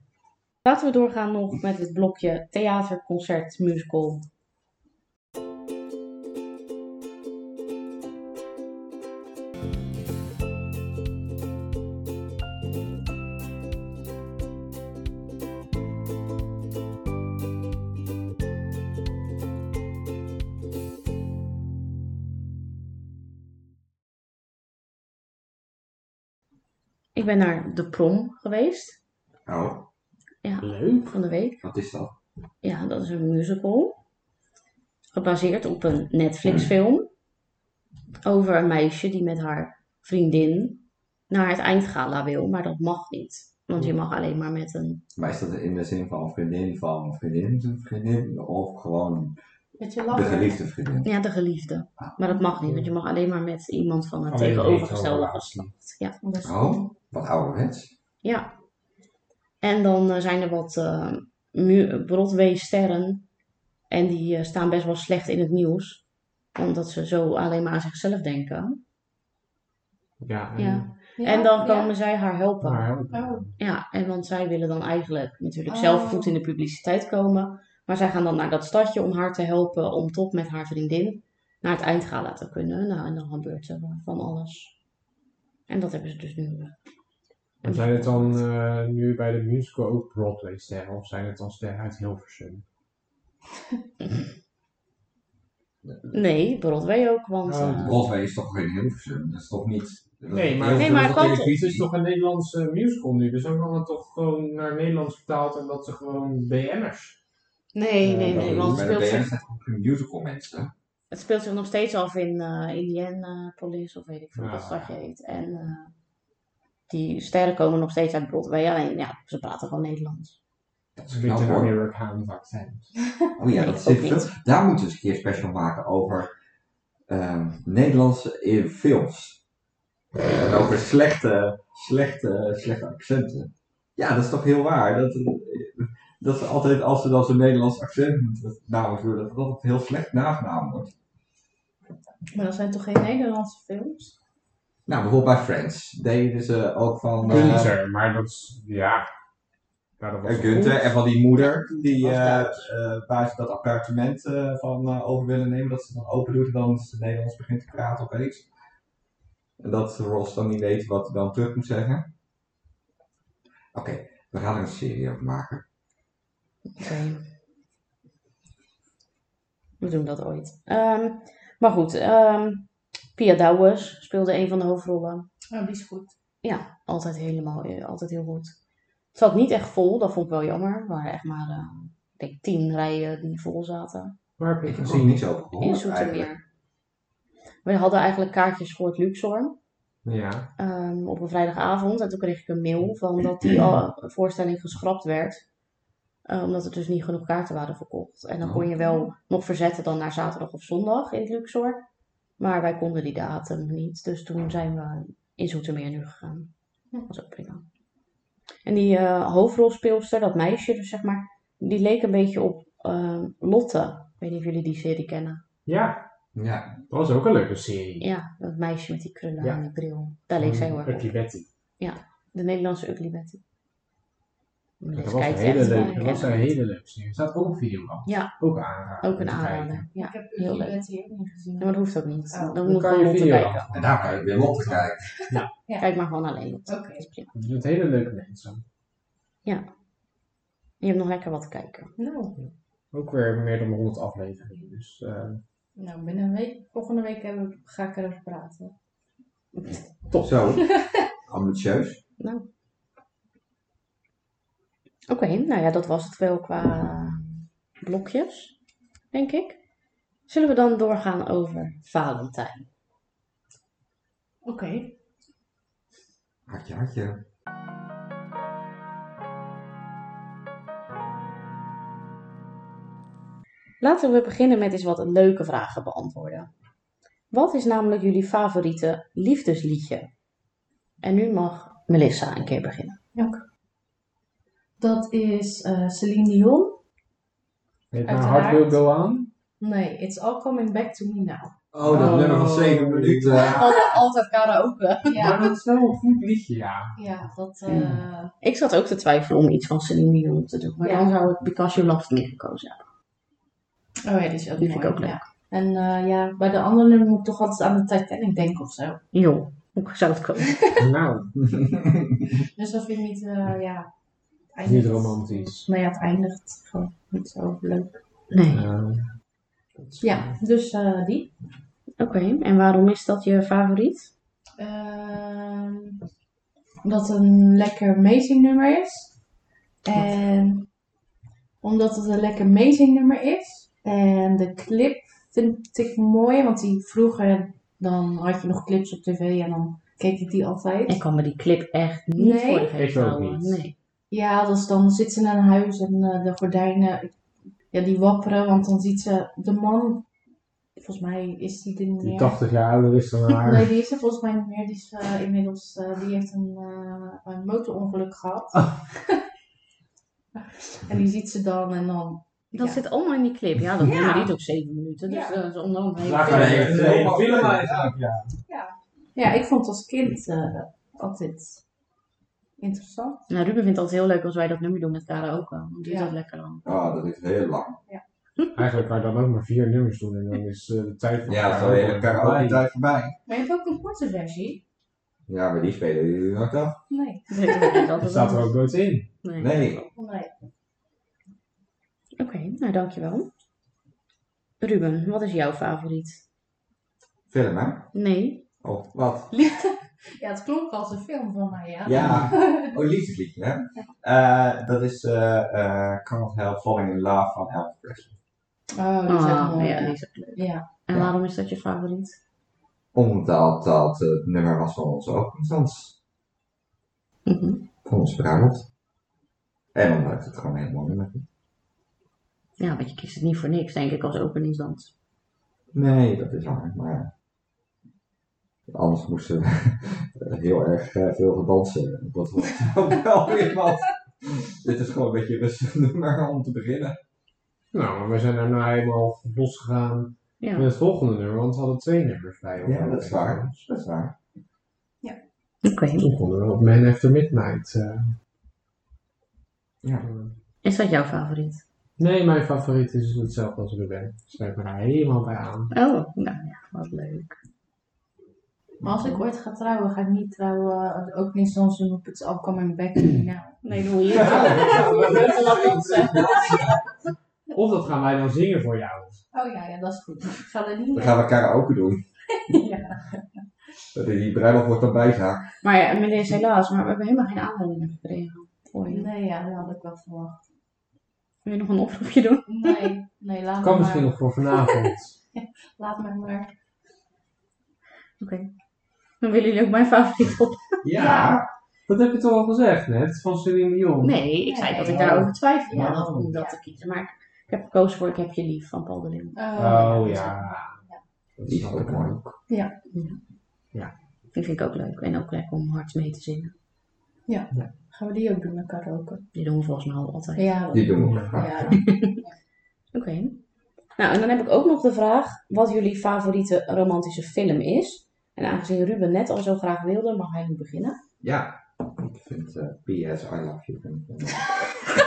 Laten we doorgaan nog met het blokje theater, concert, musical. Ik ben naar de prom geweest
Oh,
Leuk.
van de week.
wat is dat?
Ja, dat is een musical. Gebaseerd op een Netflix-film. Over een meisje die met haar vriendin naar het eindgala wil, maar dat mag niet. Want je mag alleen maar met een.
Maar is dat in de zin van vriendin van vriendin zijn vriendin? Of gewoon
Beetje
de
lachen.
geliefde vriendin?
Ja, de geliefde. Maar dat mag niet, want je mag alleen maar met iemand van het
Alleen
tegenovergestelde
hetero-relatie.
geslacht. Ja.
Dus-
Oh, wat ouderwets.
ja. En dan eh, zijn er wat eh, mu- Broadway-sterren. En die eh, staan best wel slecht in het nieuws. Omdat ze zo alleen maar aan zichzelf denken.
Ja, en,
Ja.
Ja,
En dan
ja.
komen zij haar helpen.
Maar,
Oh.
Ja, en want zij willen dan eigenlijk natuurlijk
Oh.
zelf goed in de publiciteit komen. Maar zij gaan dan naar dat stadje om haar te helpen om toch met haar vriendin naar het eindgala te kunnen. Nou, en dan gebeurt er van alles. En dat hebben ze dus nu.
en zijn het dan eh, nu bij de musical ook Broadway sterren? Of zijn het dan sterren uit Hilversum?
Nee, Broadway ook, want...
Oh,
eh,
Broadway is toch geen Hilversum? Dat is toch niet... dat-
Nee, maar,
Hilversum
Nee, maar
is
het
toch
kan
Het
televisie?
is toch een Nederlandse musical nu, dus dan kan het toch gewoon naar Nederlands vertaald en dat ze gewoon BN'ers.
nee, nee,
Eh,
nee,
bij
want
Bij
het
de
speelt,
BN'ers
zich,
zijn het ook geen musical mensen.
het speelt zich nog steeds af in eh, Indianapolis of weet ik veel wat
Ja.
dat stadje heet. En eh, die sterren komen nog steeds uit Broadway, alleen ja, ze praten gewoon Nederlands.
Dat is
Een
knap
beetje een
hoor.
Amerikaans accent.
Oh ja,
Nee,
dat
ook
zit er. Daar moeten we eens een keer special maken over ehm, Nederlandse eh, films. En over slechte, slechte, slechte accenten. Ja, dat is toch heel waar. Dat, eh, dat ze altijd, als ze dan zo'n Nederlands accent moeten namen, dat het altijd heel slecht nagenaam wordt.
Maar dat zijn toch geen Nederlandse films?
Nou, bijvoorbeeld bij Friends deden ze ook van eh,
Gunther, maar dat is, ja. Maar dat was
eh,
toch
Gunther
goed?
en van die moeder, die,
Of
eh,
Duits.
eh, waar ze dat appartement eh, van eh, over willen nemen, dat ze dan open doet en dan ze Nederlands begint te praten opeens. En dat Ross dan niet weet wat hij dan terug moet zeggen. Oké, we gaan er een serie over maken.
Oké. We doen dat ooit. Ehm, maar goed, ehm, Pia Douwes speelde een van de hoofdrollen.
Oh, die is goed.
Ja, altijd helemaal, eh, altijd heel goed. Het zat niet echt vol, dat vond ik wel jammer. Er waren echt maar, eh, ik denk, tien rijen die vol zaten.
Waar heb je
Ik
het
heb er ook niks
gezien?
over
In
gehoord Oh, eigenlijk.
Zoetermeer. We hadden eigenlijk kaartjes voor het Luxor
Ja.
ehm, op een vrijdagavond. En toen kreeg ik een mail van dat die al- voorstelling geschrapt werd. eh, omdat er dus niet genoeg kaarten waren verkocht. En dan kon je wel nog verzetten dan naar zaterdag of zondag in het Luxor. Maar wij konden die datum niet. Dus toen zijn we in Zoetermeer nu gegaan. Dat was ook prima. En die eh, hoofdrolspeelster, dat meisje dus zeg maar, die leek een beetje op eh, Lotte. Ik weet niet of jullie die serie kennen.
Ja,
Ja,
dat was ook een leuke serie.
Ja, dat meisje met die krullen
Ja. Oh,
en die bril. Daar leek zij heel erg
Ugly
op.
Betty.
De Nederlandse Ugly Betty. Maar
Dat
deze
was een
kijkt
hele
echt
leuke,
wel
dat was
echt
een hele leuke serie. Er staat ook een video van.
Ja.
Ook een aanrader.
Ook
om
een
te
aanrader. Ja.
Ik heb
Heel
Ugly
leuk.
Betty ook niet gezien.
Ja, maar dat hoeft ook niet.
Oh,
dan
Dan
moet
kan je
gewoon Lotte
video
kijken.
af.
en daar kan je weer op te kijken.
Ja.
Kijk maar gewoon alleen Lotte.
Oké.
Dat is prima.
Je doet hele leuke mensen.
Je hebt nog lekker wat te kijken.
Nou,
Ook weer meer dan 100 afleveringen. Dus eh,
nou, binnen een week, volgende week hebben we, ga ik erover praten.
Top. Zo, ambitieus.
Oké, nou ja, dat was het wel qua blokjes, denk ik. Zullen we dan doorgaan over Valentijn?
Oké.
Hartje, hartje.
Laten we beginnen met eens wat leuke vragen beantwoorden. Wat is namelijk jullie favoriete liefdesliedje? En nu mag Melissa een keer beginnen.
Dat is eh Celine Dion.
heet maar
Uiteraard.
Hard Will Go On.
Nee, It's All Coming Back to Me Now.
Oh, dat
Oh.
nummer van 7 minuten.
Altijd karaoke.
Ja,
Maar dat is wel een goed liedje, ja.
ja dat... eh,
Ik zat ook te twijfelen om iets van Celine Dion te doen. Maar
Ja.
dan zou ik Because You Loved Me gekozen hebben.
Oh ja, die is ook
Die
mooi,
vind ik ook leuk.
ja. En eh, ja, bij de andere nummer moet ik toch altijd aan de Titanic denken of zo.
Joh, hoe zou het komen?
nou,
Dus dat vind ik niet, eh, ja... het
niet romantisch.
Nou ja, het eindigt gewoon niet zo leuk.
Nee. Oké,
Eh,
Ja, dus eh, die.
en waarom is dat je favoriet?
Ehm, omdat het een lekker amazing nummer is. En omdat het een lekker amazing nummer is. En de clip vind ik mooi, want die vroeger dan had je nog clips op tv en dan keek ik die altijd.
Ik kan me die clip echt niet
Nee.
voor de geest
Ik ook
houden.
niet.
Nee.
Ja, dus dan zit ze in een huis en eh, de gordijnen ja, die wapperen, want dan ziet ze de man. Volgens mij is die er niet
die
meer.
80 jaar ouder is dan haar.
Nee, die is er volgens mij niet meer. Die is eh, inmiddels, eh, die heeft een, eh, een motorongeluk gehad.
Oh.
en die ziet ze dan en dan.
Dat
Ja. eh,
zit allemaal in die clip. Ja, dat
Ja.
nummer niet op 7 minuten. Dus
Ja.
dat is onder andere
Daar
ga
gaan
je
we
Nee,
even-
nee,
nee,
film
film
uit.
uit, ja.
Ja, ik vond het als kind eh, altijd interessant.
Nou, Ruben vindt het altijd heel leuk als wij dat nummer doen met karaoke. Want die
Ja.
doet dat lekker lang.
Oh, dat is heel lang.
Eigenlijk kan je dan ook maar vier nummers doen en dan is eh, de tijd van
Ja, dat is
elkaar
al de
ook
hele karaoke
voorbij.
tijd voorbij.
Maar je hebt ook een korte versie?
Ja, maar die spelen jullie nog af.
Nee.
Nee, dat
Dat
is
staat er
anders.
ook nooit in.
Nee.
Nee.
nee.
Oké, nou dankjewel. Ruben, wat is jouw favoriet?
Film, hè?
Nee.
Of wat?
Ja, het klonk als een film van mij, ja.
Ja. Oh, liefdesliedje, hè? Eh, dat is eh eh Can't Help Falling in Love van Elvis Presley.
Oh, die is ook
Ah,
mooi.
ja, die
ja.
is ook leuk.
Ja.
En
Ja.
waarom is dat je favoriet?
Omdat dat het nummer was van onze openingsdans.
Mhm.
Van onze bruiloft. En omdat het gewoon een heel mooi nummer is.
Ja, want je kiest het niet voor niks, denk ik, als openingsdans.
Nee, dat is waar. Maar anders moesten we heel erg eh, veel gaan dansen. Dat was ook wel weer wat. Dit is gewoon een beetje een rustig nummer om te beginnen.
Nou, maar we zijn daarna helemaal losgegaan
Ja.
met het volgende nummer, want we hadden twee nummers bij ons.
Ja, dat is waar. Dat is waar.
Oké.
Toen konden we op Man After Midnight. eh,
Ja.
Is dat jouw favoriet?
Nee, mijn favoriet is hetzelfde als Ruben. Sluit me daar helemaal bij aan.
Oh, nou ja, wat leuk.
Maar
Mhm.
als ik ooit ga trouwen, ga ik niet trouwen. Ook niet zo'n zo'n op het All Coming Back.
Mhm.
Nou,
Nee, doe je.
Of dat gaan wij dan zingen voor jou.
Oh ja, ja, dat is goed. Ik ga er niet
Dan
mee.
gaan we karaoke doen.
Ja.
Die bruiloft wordt dan bijzaak.
Maar ja, meneer is helaas, maar we hebben helemaal geen aanmeldingen gekregen. voor je.
Nee, ja, dat had ik wel verwacht.
Wil je nog een oproepje doen?
Nee, nee, laat
Kan
me
misschien
maar.
nog voor vanavond.
Laat me maar.
Oké. Dan willen jullie ook mijn favoriet op.
ja. Dat heb je toch al gezegd net, van Celine Dion.
Nee, ik zei dat ik
Nee.
daarover twijfelde.
Ja.
dat om dat te kiezen. Maar ik heb gekozen voor Ik heb je lief van Paul de Leeuw.
Eh,
Oh ja. Dat
Die is ook mooi.
Die vind ik ook leuk. En ook lekker om hard mee te zingen.
Gaan we die ook doen met karaoke?
Die doen we volgens mij al altijd.
Ja, dat-
Die doen we ook graag.
ja.
Oké. Nou, en dan heb ik ook nog de vraag wat jullie favoriete romantische film is. En aangezien Ruben net al zo graag wilde, mag hij nu beginnen.
Ja, ik vind eh PS I Love You. vind ik, eh,
Oh,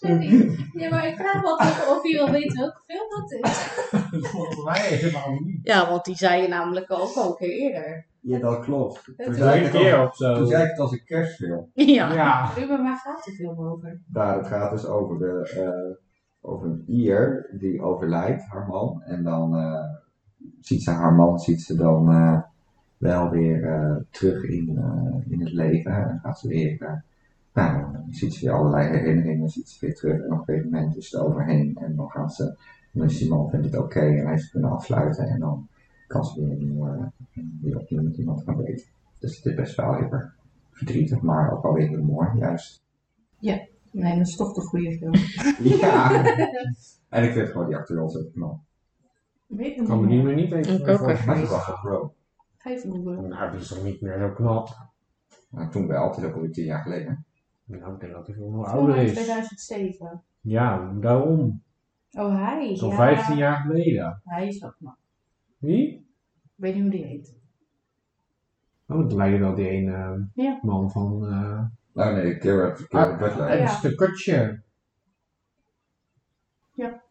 sorry. Ja, maar ik vraag wel toch of je wil weten welke film dat is.
Volgens mij helemaal niet.
Ja, want die zei je namelijk ook al een keer eerder.
Ja, dat klopt. Toen
is
zei,
Drie
ik het
keer
al-
of zo.
toen zei ik het als een kerstfilm.
Ja.
Ja.
Ruben, waar gaat de film over?
Daar, het gaat dus over, de, eh, over een ier die overlijdt, haar man. En dan eh, ziet ze haar man ziet ze dan eh, wel weer eh, terug in, eh, in het leven. En dan gaat ze weer, eh, nou, dan ziet ze weer allerlei herinneringen, ziet ze weer terug. En op een gegeven moment is het overheen. En dan gaan ze, dan is die man vindt het oké en hij is kunnen afsluiten. En dan kan ze weer, opnieuw, eh, weer opnieuw met iemand gaan weten. Dus het is best wel heel erg verdrietig, maar ook wel weer heel mooi, juist.
Nee, dat is toch de goede film.
Ja. en ik vind gewoon die acteur wel zo knap.
Weet
Ik kan me niet meer niet eens
Ik ook
voorstellen.
Maar die was wel bro.
Vijf Google.
Nou, die is toch niet meer zo knap.
Maar toen wel, het is ook alweer tien jaar geleden.
Nou, ik denk dat hij veel nog
Film
ouder
uit
is.
2007.
Ja, daarom.
Oh, hij.
Zo'n
ja.
15 jaar geleden.
Hij is wel knap.
Wie?
Ik weet niet hoe die heet.
Oh, dat lijkt wel die ene
Ja.
man van... eh
Nou nee, Gerard,
Ah.
Gerard Butler.
een
ja.
stukkertje.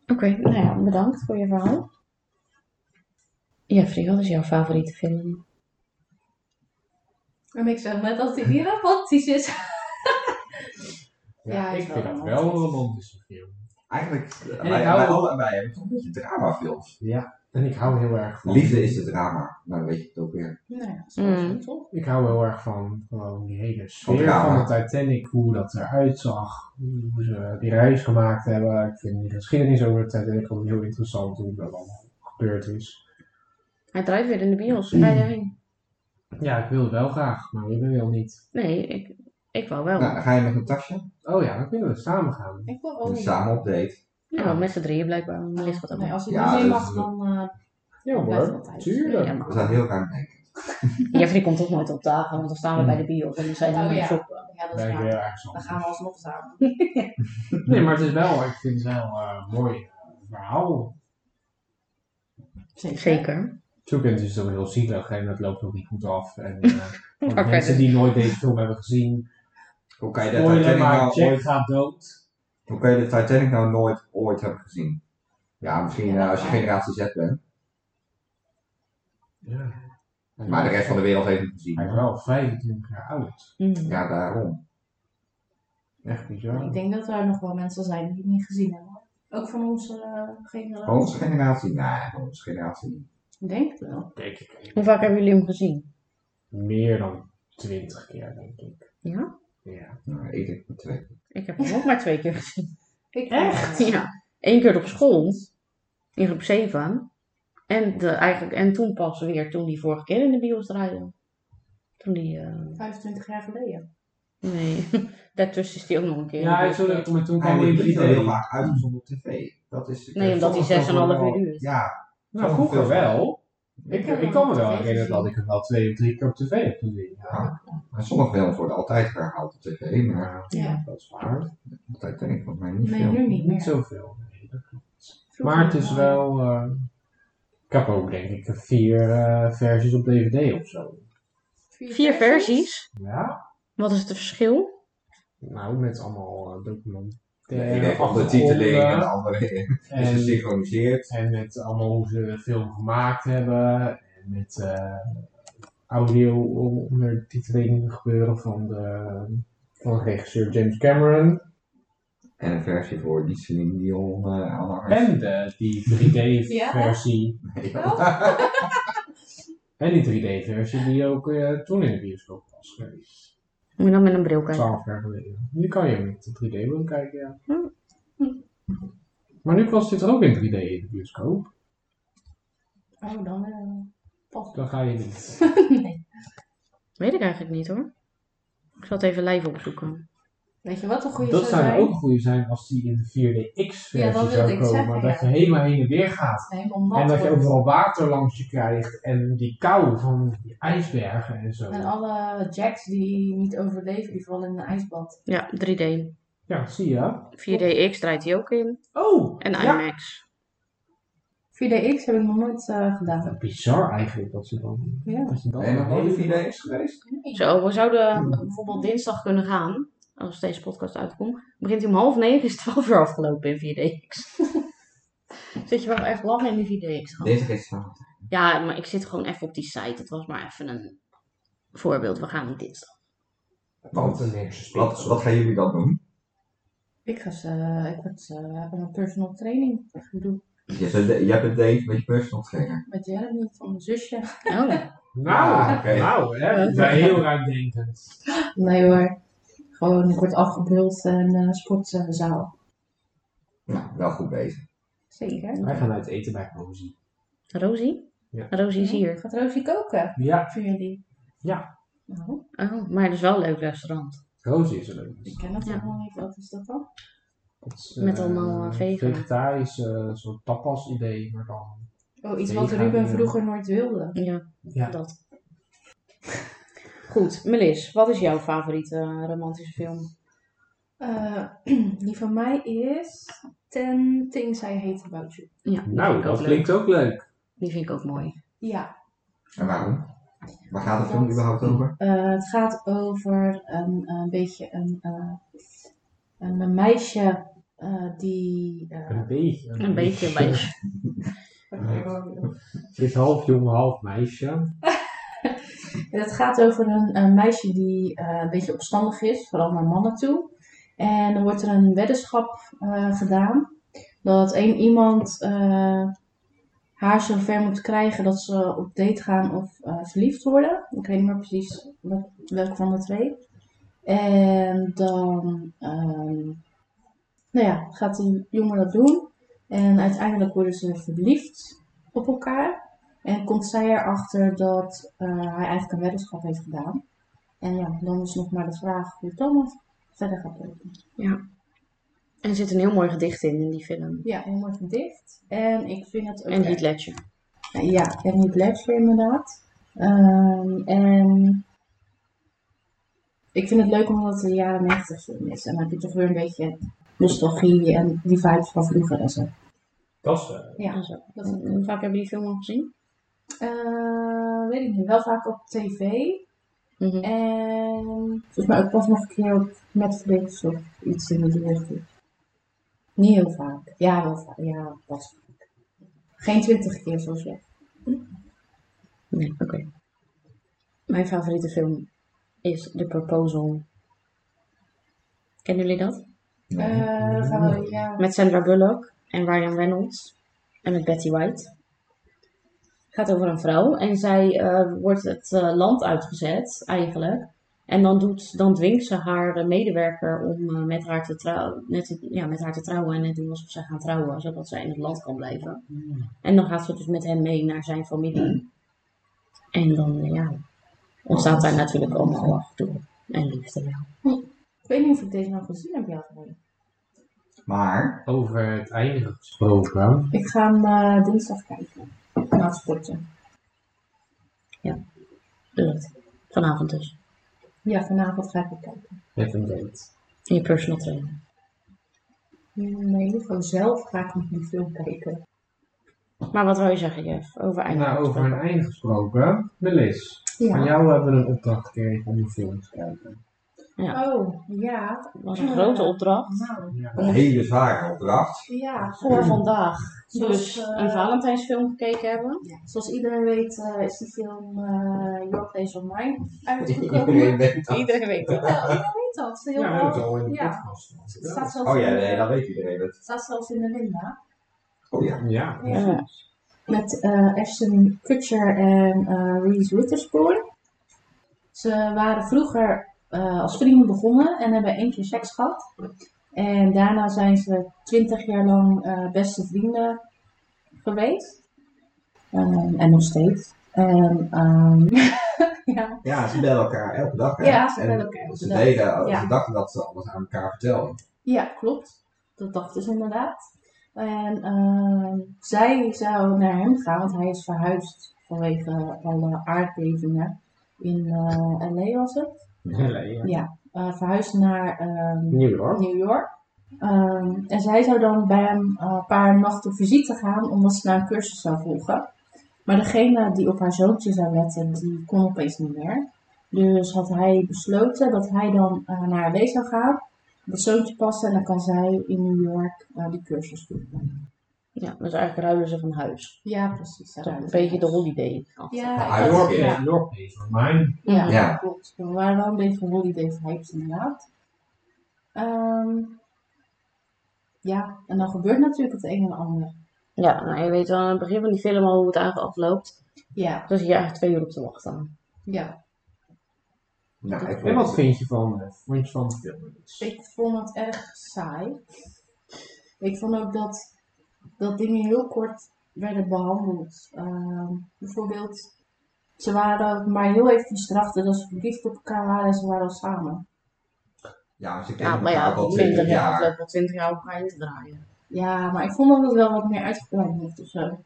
Oké, nou ja, bedankt voor je verhaal. Jeffrey, wat is jouw favoriete film?
En ik zeg net als die hier romantisch is. Ja, hij is
ik
wel
vind dat wel
romantisch.
een romantische film.
Eigenlijk, eh,
En
wij,
ik hou
wij,
ook-
alle- wij hebben toch een beetje dramafilms.
Ja, en ik hou heel erg van...
Liefde is het drama, maar weet je het ook weer.
Nou ja,
Mm.
toch?
Ik hou heel erg van gewoon die hele sfeer
drama.
van de Titanic, hoe dat eruit zag, hoe ze die reis gemaakt hebben. Ik vind die geschiedenis over de Titanic gewoon heel interessant, hoe dat allemaal gebeurd is.
Hij draait weer in de bios. Ga je heen?
Ja, ik wilde wel graag, maar we wil niet.
Nee, ik, ik wou wel.
Nou, dan ga je met een tasje?
Oh ja, dan kunnen we samen gaan.
Ik wil ook
Dus
niet.
samen op date.
Nou, met z'n drieën blijkbaar. Dan ligt dat ook
Nee, als ik
Ja,
niet mee
dus
dat
mag,
is-
dan... eh,
Ja
Blijft
hoor,
altijd.
tuurlijk.
Ja,
We
maar-
zijn heel ruim denken.
Jeffrey komt toch nooit op dagen, want dan staan we bij de bios en dan zijn we
Oh,
aan het
ja.
shoppen.
ja, dat
Ben
is
ik
waar.
heel erg
Dan gaan
zand.
we alsnog samen.
Nee, maar het is wel, ik vind het wel eh, een mooi eh, verhaal.
Zeker.
Zoekend is het ook heel zielig en dat loopt ook niet goed af. En eh, voor de
Maar
mensen
verder.
die nooit deze film hebben gezien,
Hoe kan je de
spoiler
Titanic
maar,
nou
Jack
ooit,
gaat dood.
hoe kan je de Titanic nou nooit ooit hebben gezien? Ja, misschien
Ja,
eh, als je
ja.
generatie Z bent.
Ja.
Maar de rest van de wereld heeft het gezien.
Hij is wel 25 jaar oud.
Mm.
Ja, daarom.
Echt
Ik
bizar.
denk dat er nog wel mensen zijn die het niet gezien hebben. Ook van onze eh generatie.
Onze generatie? Nee, onze generatie niet.
Ik denk het wel.
Denk ik
Hoe vaak hebben jullie hem gezien?
meer dan 20 keer, denk ik.
Ja?
Ja.
Nou, ik denk met twee.
Ik heb hem ook maar twee keer gezien.
Ik eh,
Echt?
Ja, één keer op school, in groep 7. En, de, eigenlijk, en toen pas weer, toen die vorige keer in de bios draaide. Toen die, eh,
25 jaar geleden.
nee, daartussen is die ook nog een keer. in de
Ja, ik
bios
zou dat
geweest.
maar toen
Hij
kwam hij
wordt
in
niet zo heel
3D.
vaak uitgezonden op tv. Dat is,
Nee, omdat hij
sommige
zes en een half
films
uur duurt.
Ja,
Nou, vroeger wel. Ik,
Ik heb
ik
hem
kan me
op
wel
tv
herinneren dat
gezien.
ik hem wel twee of drie keer op tv heb gezien.
Ja. maar sommige films worden altijd herhaald op tv, maar
Maar
Ja.
dat is waar.
altijd denk ik volgens mij niet
Nee,
veel.
nu niet
Niet
meer.
zoveel. nee, dat klopt.
Vroeger
Maar het is wel... eh, ik heb ook denk ik vier eh, versies op DVD of zo.
Vier versies.
Ja?
Wat is het verschil?
Nou, met allemaal eh, documenten.
ik denk ook de titeling en de andere is
en-
gesynchroniseerd.
En met allemaal hoe ze de film gemaakt hebben. En met eh, audio ondertiteling gebeuren van de, van de regisseur James Cameron.
En een versie voor die Celine Dion eh, aanhangers.
En de, die 3D-versie. En die 3D-versie die ook eh, toen in de bioscoop was geweest.
Moet je dan met een bril kijken.
12 jaar geleden. Nu kan je met de 3D-bril kijken, ja.
Hm.
Maar nu was dit er ook in 3D in de bioscoop.
Oh, dan eh pas.
Dan ga je niet.
nee.
Weet ik eigenlijk niet hoor. Ik zal het even live opzoeken.
Weet je wat een goede
Dat
zou
zou
zijn?
ook goed zijn als die in de 4DX-versie
Ja, dat wilde
zou
ik
komen.
zeggen,
dat
ja.
je helemaal heen en weer gaat.
Helemaal nat
en dat je
wordt.
ook wel water langs je krijgt. En die kou van die ijsbergen en zo.
En alle jacks die niet overleven, die vallen in een ijsbad.
Ja, 3D.
Ja, zie je.
4DX draait hij ook in.
Oh!
En
ja.
IMAX.
4DX heb ik nog nooit eh, gedaan.
Bizar eigenlijk dat ze dan...
Ja.
Dat je dat
Ben je nog nooit
hele-
in 4DX geweest?
Zo, we
Hmm.
zouden bijvoorbeeld dinsdag kunnen gaan. Als deze podcast uitkomt. Begint hij om half negen, is het 12 uur afgelopen in 4DX. Zit je wel echt lang in die 4DX? gehad.
Deze is van.
Ja, maar ik zit gewoon even op die site. Het was maar even een voorbeeld. We gaan dinsdag.
Wat een niks.
Wat, wat gaan jullie dan doen?
Ik, ga, ze- ik word, eh, heb een personal training. Ik doe
Je hebt een, je hebt een date met je personal trainer.
met Jeremy van mijn zusje.
Oh,
Nou,
Ah, oké.
nou hè.
Ja.
We zijn heel ruimdenkend.
Nee hoor. Gewoon, ik word afgebeeld en eh sportzaal.
Nou, wel goed bezig.
Zeker.
Wij gaan uit eten bij Rosie.
Rosie?
Ja.
Rosie is hier.
Gaat Rosie koken
Ja,
voor jullie?
Ja.
Nou,
Oh, maar het is wel een leuk restaurant.
Rosie is er leuk.
ik ken het
Ja.
helemaal niet. Wat is dat dan?
Dat is,
Met
eh,
allemaal, eh, vegan.
Vegetarisch, eh, soort tapas idee, maar dan...
Oh, iets wat
Vegan,
Ruben
ja.
vroeger nooit wilde.
Ja,
Ja.
dat. Goed, Melis, wat is jouw favoriete eh, romantische film?
Eh, die van mij is Ten Things I Hate About You.
Ja, die vind
Nou,
ik ook
dat
leuk.
klinkt ook leuk.
Die vind ik ook mooi.
Ja,
En waarom? Waar gaat de film überhaupt over?
Eh, het gaat over een, een beetje een, eh, een, een meisje eh, die. eh,
Een beetje.
Een beetje, een beetje.
Ze is half jongen, half meisje.
Het gaat over een, een meisje die eh, een beetje opstandig is, vooral naar mannen toe. En dan wordt er een weddenschap eh, gedaan dat één iemand eh, haar zover moet krijgen dat ze op date gaan of eh, verliefd worden. Ik weet niet meer precies wel- welke van de twee. En dan ehm, nou ja, gaat die jongen dat doen. En uiteindelijk worden ze verliefd op elkaar. En komt zij erachter dat eh, hij eigenlijk een weddenschap heeft gedaan. En ja, dan is nog maar de vraag hoe Thomas verder gaat lopen.
En er zit een heel mooi gedicht in, in die film.
Ja, heel mooi gedicht. En ik vind het ook...
En Heath Ledger.
Ja, en niet Ledger inderdaad. Ehm, en ik vind het leuk omdat het een jaren 90 film is. En dan heb je toch weer een beetje nostalgie en die vibes van vroeger en zo.
Dat is eh,
Ja,
En zo.
dat is
Hoe vaak hebben die film al gezien?
Eh, weet ik niet, wel vaak op tv.
Mhm.
En volgens mij ook pas nog een keer op Netflix of iets in die richting. Niet heel vaak. Ja, wel vaak. Ja, pas vaak. Geen twintig keer zoals jij.
Nee, oké. Mijn favoriete film is The Proposal. Kennen jullie dat?
Nee.
Eh, dan gaan we, ja.
Met Sandra Bullock en Ryan Reynolds. En met Betty White. gaat over een vrouw. En zij eh, wordt het eh, land uitgezet, eigenlijk. En dan, doet, dan dwingt ze haar eh, medewerker om eh, met, haar te trouwen, net, te- ja, met haar te trouwen. En net doen alsof zij gaan trouwen, zodat zij in het land kan blijven.
eh,
En dan gaat ze dus met hem mee naar zijn familie. En dan, eh, ja, ontstaat daar natuurlijk allemaal toe. En liefde, ja.
Ik weet niet of ik deze nou gezien heb, ja. of niet.
Maar,
over het einde gesproken.
Ik ga hem eh, dinsdag kijken. Na het sporten.
Dat. Vanavond dus.
Ja, vanavond ga ik hem kijken.
Met een date.
In je personal trainer.
Mm, Nee, gewoon zelf ga ik nog een film kijken.
Maar wat wil je zeggen, Jeff, over einde?
Nou, over een einde gesproken. Melis, van
Ja.
jou hebben we een opdracht gekregen om een film te kijken.
Oh, ja.
Dat was een grote opdracht.
Nou,
Ja.
een hele zware opdracht.
ja.
Voor vandaag.
Zoals,
Dus
eh,
een Valentijnsfilm gekeken hebben.
Ja, zoals iedereen weet eh, is die film eh Your Place or Mine uitgekomen.
Iedereen weet dat.
Iedereen weet het.
Ja, iedereen weet dat. Heel
Ja, we hebben het
wel.
al in de
Ja.
podcast.
Het staat zelfs,
Oh ja,
in-
nee, dat weet iedereen. Dat...
het staat zelfs in de Linda.
Oh ja.
Ja.
Ja. Met eh Ashton Kutcher en eh Reese Witherspoon. Ze waren vroeger eh, als vrienden begonnen en hebben één keer seks gehad. En daarna zijn ze twintig jaar lang eh, beste vrienden geweest. Ehm, en nog steeds. En, ehm, ja,
Ja, ze bellen elkaar elke dag. hè?
ja, ze
En
hebben elkaar.
Ze,
bedacht.
deden,
Ja.
ze dachten dat ze alles aan elkaar vertelden.
Ja, klopt. Dat dachten ze inderdaad. En ehm, zij zou naar hem gaan, want hij is verhuisd vanwege alle aardbevingen in eh LA was het.
Nee,
Eh, verhuisd naar ehm,
Nieuw York.
New York. Ehm, en zij zou dan bij hem eh, een paar nachten op visite gaan, omdat ze naar een cursus zou volgen. Maar degene die op haar zoontje zou letten, die kon opeens niet meer. Dus had hij besloten dat hij dan eh, naar haar zou gaan, dat zoontje passen en dan kan zij in New York eh, die cursus doen.
Ja, dus eigenlijk ruilen ze van huis.
Ja, precies.
Dat is een beetje de holiday.
Ja,
Ah,
New
dat-
York
York,
is
ja.
New York is voor mij.
Ja,
Ja.
klopt. We waren wel een beetje holiday vibes inderdaad. Ehm, ja, en dan gebeurt natuurlijk het een en ander.
Ja, nou, je weet wel aan het begin van die film al hoe het eigenlijk afloopt.
Ja,
Dus je eigenlijk twee uur op te wachten.
ja.
Nou, ik
En
weet
wat
het.
vind je van, eh, vond je van de film?
Ik vond het erg saai. Ik vond ook dat, dat dingen heel kort werden behandeld. Ehm, bijvoorbeeld, ze waren maar heel dus eventjes erachter dat ze verliefd op elkaar waren en ze waren al samen.
Ja, maar ze kennen
Ja, Ah, maar
elkaar
ja,
ook al
20
twintig
jaar.
jaar.
afloop van 20 jaar op elkaar in te draaien.
Ja, maar ik vond dat het wel wat meer uitgebreid moest of zo.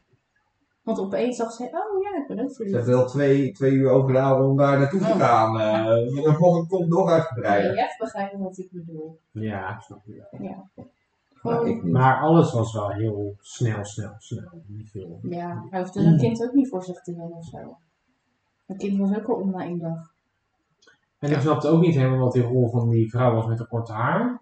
Want opeens dacht ze, oh ja, ik ben ook
Ze
verliefd.
hebben wel twee, twee uur overgehouden om daar naartoe te
Oh.
gaan. eh, en dan vond ik kom nog
Nee,
uitgebreider.
je hebt begrijpen wat ik bedoel.
Ja, ik snap je wel.
Nou,
Gewoon,
ik niet.
Maar alles was wel heel snel, snel, snel in die film.
ja, hij hoeft een kind ook niet voor zich te doen of zo. Een kind was ook al om na één dag.
En ik snapte ook niet helemaal wat die rol van die vrouw was met de korte haar.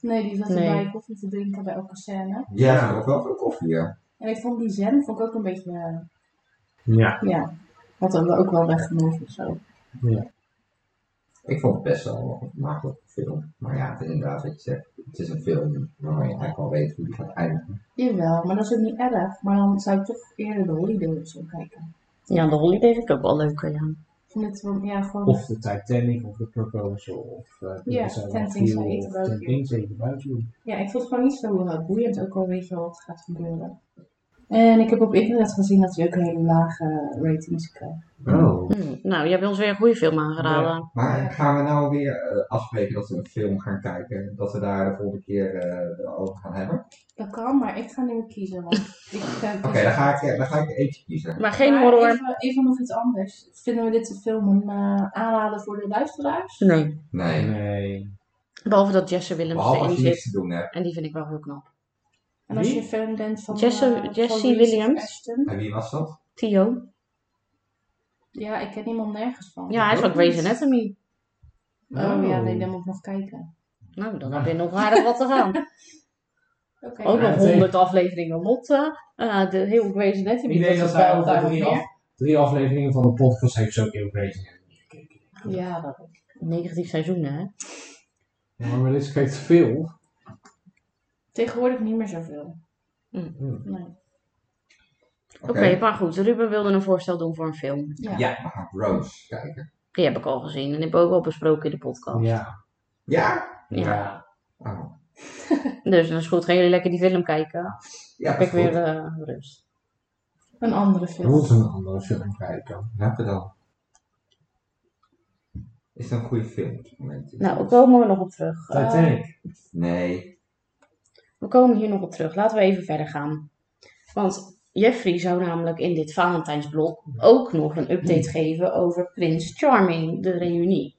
Nee, die zat
Nee.
erbij koffie te drinken bij elke scène.
Ja, ze hebben ook wel veel koffie hier.
En ik vond die zen vond ik ook een beetje, eh,
Ja.
ja, had hem ook wel weggenomen of zo.
Ik vond het best wel een makkelijke film. Maar ja, het is inderdaad wat je zegt. Het is een film waarvan je eigenlijk al weet hoe die gaat eindigen.
Jawel, maar dat is ook niet erg. Maar dan zou ik toch eerder de holiday of zo kijken.
Ja, de holiday vind ik ook wel leuker, ja.
Ik vind het wel, ja, gewoon,
Of de Titanic, of de Proposal, of... eh,
Ja,
er zijn wel
Ten Things I
veel-
Hate
of
About
Ten
You.
Things I Hate About You.
ja, ik vond het gewoon niet zo eh, boeiend, ook al weet je wel wat gaat gebeuren. En ik heb op internet gezien dat hij ook hele lage ratings krijgt.
Oh.
Hm, Nou, jij hebt ons weer een goede film aangeraden.
Maar gaan we nou weer eh, afspreken dat we een film gaan kijken? Dat we daar de volgende keer eh, over gaan hebben?
Dat kan, maar ik ga nu kiezen, want ik eh, kies-
Oké, dan, ga ik, eh, dan ga ik eentje kiezen.
Maar geen
Maar
horror.
Even, even nog iets anders. Vinden we dit film een eh, aanrader voor de luisteraars?
Nee.
Nee.
Nee.
Behalve dat Jesse Willems
Behalve als
erin
je
zit.
niks te doen hebt.
En die vind ik wel heel knap.
En als je
Wie?
fan bent van
Jesse-
eh, van
Jesse
Reese
Williams?
Ashton.
En wie was dat?
Theo.
Ja, ik ken iemand nergens van.
Ja, hij is van Grey's Anatomy.
Oh ja, nee, dan moet ik nog kijken.
Nou, dan
Ja.
heb je nog aardig wat te gaan.
Oké.
Ook nog
Ja, zeker.
100 afleveringen Lotte. Eh, de heel Grey's Anatomy.
Ik denk
is
dat
wel
wij over
daar nog
drie,
meer.
af- drie afleveringen van de podcast heeft ze ook heel Grey's Anatomy gekeken.
Ja, dat ook.
Negatief seizoen, hè?
Ja, maar dit kijkt veel.
Tegenwoordig niet meer zoveel.
Mm.
Hmm.
Nee.
Oké, maar goed. Ruben wilde een voorstel doen voor een film.
Ja.
Ja, we gaan Rose kijken.
Die heb ik al gezien. En die heb ik ook al besproken in de podcast.
Ja.
Ja?
Ja.
Oh.
Dus dat is goed. Gaan jullie lekker die film kijken?
Ja,
heb
dat
ik
is
weer
goed.
eh, rust.
Een andere
We
film.
moeten een andere film kijken.
Welke dan? Is dat een goede film op dit moment?
Nou, we komen er nog op terug. Eh,
Titanic.
Nee.
We komen hier nog op terug. Laten we even verder gaan. Want Jeffrey zou namelijk in dit Valentijnsblok ook nog een update
Hmm.
geven over Prins Charming, de reunie.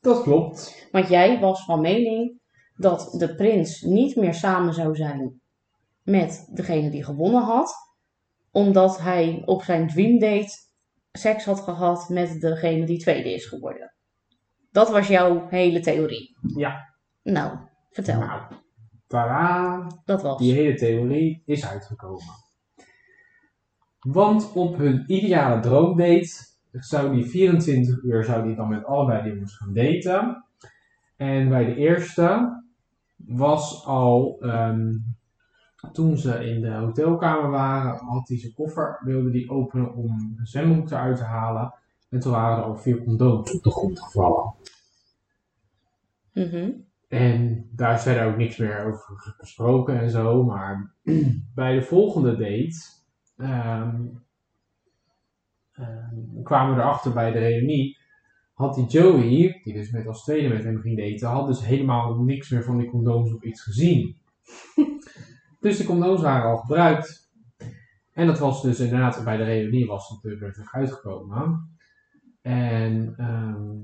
Dat klopt.
Want jij was van mening dat de prins niet meer samen zou zijn met degene die gewonnen had, omdat hij op zijn dreamdate seks had gehad met degene die tweede is geworden. Dat was jouw hele theorie.
Ja.
Nou, vertel.
Nou, tadaa.
dat was.
Die hele theorie is uitgekomen. Want op hun ideale droomdate zou die 24 uur zou die dan met allebei die jongens gaan daten. En bij de eerste was al, ehm, toen ze in de hotelkamer waren, had hij zijn koffer, wilde die openen om een zwembroek eruit te halen. En toen waren er al vier condooms op de grond gevallen.
Mhm.
En daar is verder ook niks meer over gesproken en zo. Maar bij de volgende date ehm, ehm, kwamen we erachter bij de reunie. Had die Joey, die dus met als tweede met hem ging daten, had dus helemaal niks meer van die condooms of iets gezien. dus de condooms waren al gebruikt. En dat was dus inderdaad, bij de reunie was dat er weer terug uitgekomen. En ehm,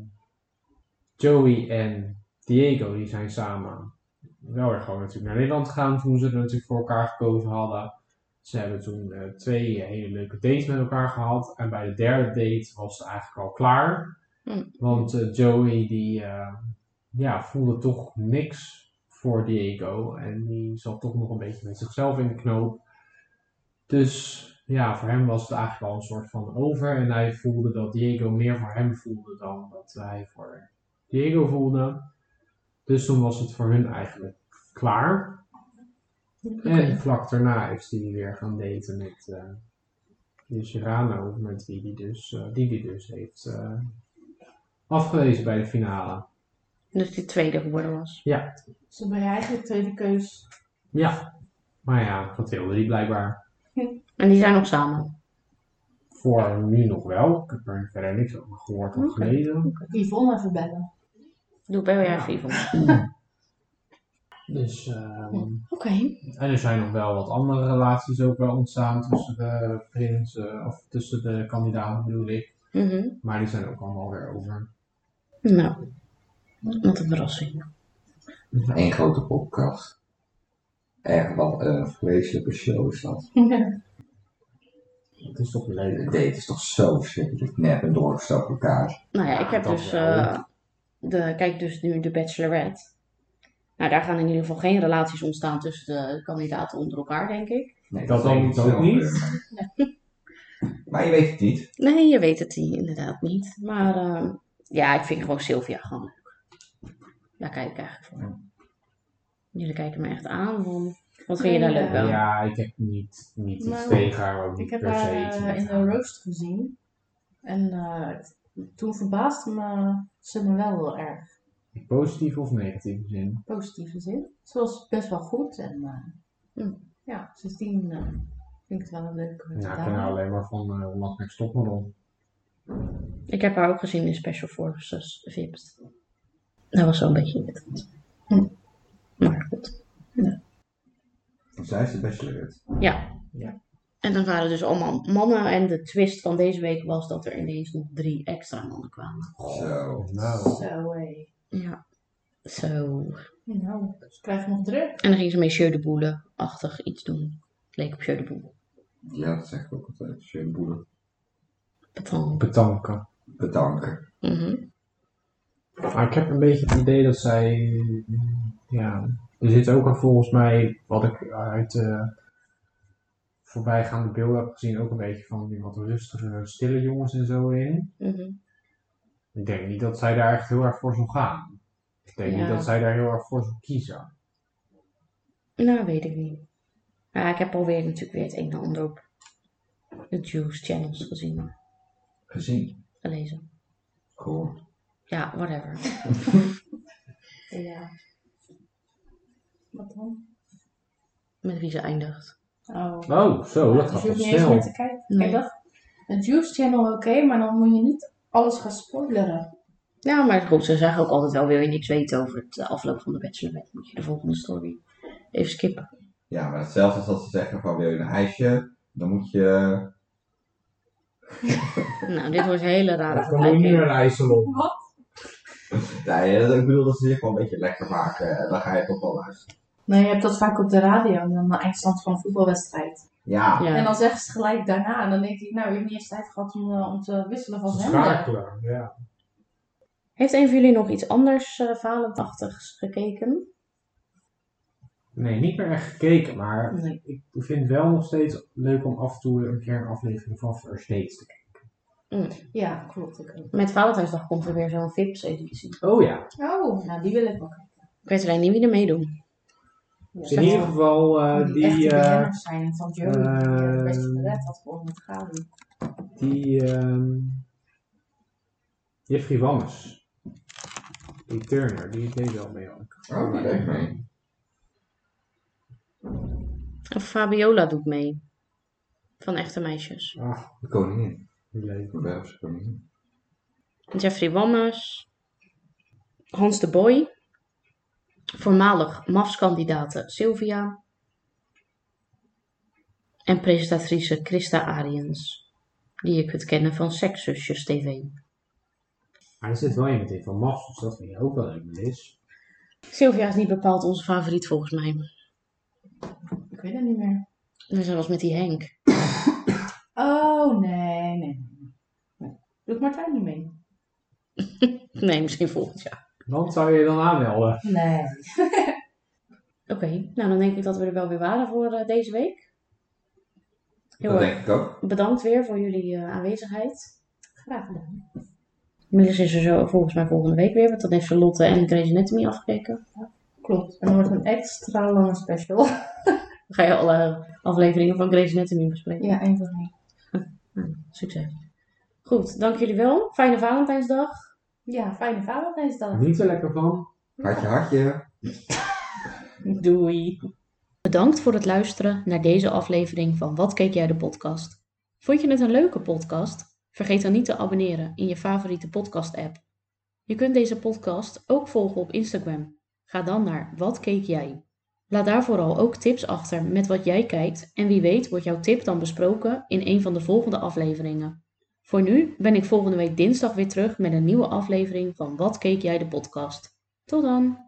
Joey en Diego, die zijn samen wel weer gewoon natuurlijk naar Nederland gegaan toen ze er natuurlijk voor elkaar gekozen hadden. Ze hebben toen eh, twee hele leuke dates met elkaar gehad. En bij de derde date was het eigenlijk al klaar.
Hm.
Want eh, Joey die eh, ja, voelde toch niks voor Diego. En die zat toch nog een beetje met zichzelf in de knoop. Dus ja, voor hem was het eigenlijk al een soort van over. En hij voelde dat Diego meer voor hem voelde dan dat hij voor Diego voelde. Dus toen was het voor hun eigenlijk klaar.
eh.
En vlak daarna is hij weer gaan daten met eh die Girano, met wie die dus, eh, die die dus heeft eh, afgewezen bij de finale.
Dus die tweede geworden was.
Dus dan ben je eigenlijk tweede keus.
Ja, maar ja, dat wilde hij blijkbaar
En die zijn nog samen.
voor nu nog wel. Ik heb er verder niks over gehoord of
Oké.
gelezen.
Yvonne even bellen.
Doe bij jou even Yvonne.
Dus, ehm,
Oké.
En er zijn nog wel wat andere relaties ook wel ontstaan tussen de prins, eh, of tussen de kandidaten bedoel ik.
Mhm.
Maar die zijn ook allemaal weer over.
Nou, wat een verrassing.
Eén grote podcast. Echt wat een vreselijke show is dat.
Het is toch
Een
leuk.
date is toch zo verschrikkelijk nep en doorgestoken elkaar.
Nou ja,
Ja,
ik heb
dat
dus.
wel.
eh, de, kijk dus nu de Bachelorette. Nou, daar gaan in ieder geval geen relaties ontstaan tussen de kandidaten onder elkaar, denk ik.
Nee,
Dat dan
weet ik
ook
zo.
niet.
Maar je weet het niet.
Nee, je weet het die inderdaad niet. Maar ehm, ja, ik vind gewoon Sylvia gewoon leuk. Daar kijk ik eigenlijk voor. Jullie kijken me echt aan. van, Wat vind je daar
Nee,
leuk
ja.
aan?
Ja, ik heb niet, niet iets
Nou,
tegen haar, maar ook
Ik
niet
heb
per
haar
se iets
eh,
met
in de
haar.
roast gezien. En eh, toen verbaasde me, ze me wel heel erg
In positieve of negatieve zin.
positieve zin. Ze was best wel goed. En eh,
Hm.
ja, sindsdien eh, vind ik het wel een leuke
Ja, ik
dame.
ken haar alleen maar van eh Onlangs Next Topmodel.
Ik heb haar ook gezien in Special Forces Vips. Dat was wel een beetje irritant. Hm. Maar goed.
Zij is de bachelorette.
Ja.
Ja.
En dan waren dus allemaal mannen. En de twist van deze week was dat er ineens nog drie extra mannen kwamen.
Zo.
Nou,
Zo, hé.
Ja. Zo.
Nou, ze krijgen nog druk.
En dan ging ze mee Jeu de Boele-achtig iets doen. Het leek op Jeu de Boele.
Ja, dat zegt ook altijd. Schönboer.
Patant.
betanken.
Bedanken.
Mhm.
Maar ik heb een beetje het idee dat zij. mm, Ja, er zit ook een, volgens mij, wat ik uit eh voorbijgaande beelden heb gezien, ook een beetje van die wat rustige, stille jongens en zo in.
mhm.
Ik denk niet dat zij daar echt heel erg voor zou gaan. Ik denk
Ja.
niet dat zij daar heel erg voor zou kiezen.
Nou, weet ik niet. Ja, ik heb alweer natuurlijk weer het een en ander op de Juice Channels gezien.
Gezien.
Gelezen.
Cool.
Ja, whatever.
Ja. Wat dan?
Met wie ze eindigt.
Oh.
Oh, zo, dat
Ja,
gaat wel
dus je hoeft niet eens meer
snel.
te kijken.
Nee.
Kijk, dat, het Juice Channel oké, maar dan moet je niet alles gaan spoileren.
Ja, maar goed, ze zeggen ook altijd wel, wil je niks weten over het eh, afloop van de Bachelorette, moet je de volgende story even skippen.
Ja, maar hetzelfde als dat ze zeggen van wil je een ijsje, dan moet je...
Nou, dit wordt een hele rare
Dan moet je nu
vergelijking.
naar IJsselon.
Nee, dat- ik bedoel dat ze zich gewoon een beetje lekker maken en dan ga je toch wel luisteren.
Nee, je hebt dat vaak op de radio en dan de eindstand van een voetbalwedstrijd.
Ja.
Ja.
En dan zeggen ze gelijk daarna en dan denk ik, nou, je hebt niet eens tijd gehad om, eh, om te wisselen van zender.
Schakelen, ja.
Heeft een van jullie nog iets anders eh Valentachtigs gekeken?
Nee, niet meer echt gekeken, maar
Nee.
ik vind het wel nog steeds leuk om af en toe een keer een aflevering van First Dates te kijken.
Ja, klopt. Ik ook.
Met Valentijnsdag komt er weer zo'n Vips-editie.
Oh ja.
Oh, nou, die wil ik wel. kijken.
Ik weet alleen niet wie er meedoen.
Dus
Ja,
in ieder geval eh,
die,
die,
echte
eh,
BN'ers zijn en van Joey.
eh,
best verred had gewoon moeten gaan.
die ehm, Je hebt Givannes. Die Turner, die deed wel mee. ook.
Oh, die deed mee.
En Fabiola doet mee. Van echte meisjes.
Ah,
De koningin.
die leuk.
De Belgische koningin.
Jeffrey Wammes, Hans de Boy, voormalig MAFS-kandidaat Sylvia en presentatrice Christa Ariens, die je kunt kennen van Sekszusjes TV.
Hij zit wel in meteen van Max, dus dat vind je ook wel leuk, Liz.
Sylvia is niet bepaald onze favoriet volgens mij.
Ik weet het niet meer.
We zijn was met die Henk.
Oh, nee, nee. nee. Doet Martijn niet mee?
Nee, misschien volgend jaar.
Dan zou je je dan aanmelden.
Nee.
Oké, nou dan denk ik dat we er wel weer waren voor eh, deze week. Heel
Dat
erg
denk ik ook.
bedankt weer voor jullie eh, aanwezigheid.
Graag gedaan.
Inmiddels is er zo volgens mij volgende week weer, want dan heeft Charlotte en Grey's Anatomy afgekeken.
Klopt. En dan wordt het een extra lange special.
Dan ga je alle afleveringen van Grey's Anatomy bespreken.
Ja, één voor één.
Succes. Goed, dank jullie wel. Fijne Valentijnsdag.
Ja, fijne Valentijnsdag.
Niet zo lekker van.
Hartje, hartje.
Doei.
Bedankt voor het luisteren naar deze aflevering van Wat keek jij de podcast? Vond je het een leuke podcast? Vergeet dan niet te abonneren in je favoriete podcast app. Je kunt deze podcast ook volgen op Instagram. Ga dan naar Wat keek jij? Laat daar vooral ook tips achter met wat jij kijkt en wie weet wordt jouw tip dan besproken in een van de volgende afleveringen. Voor nu ben ik volgende week dinsdag weer terug met een nieuwe aflevering van Wat keek jij de podcast. Tot dan!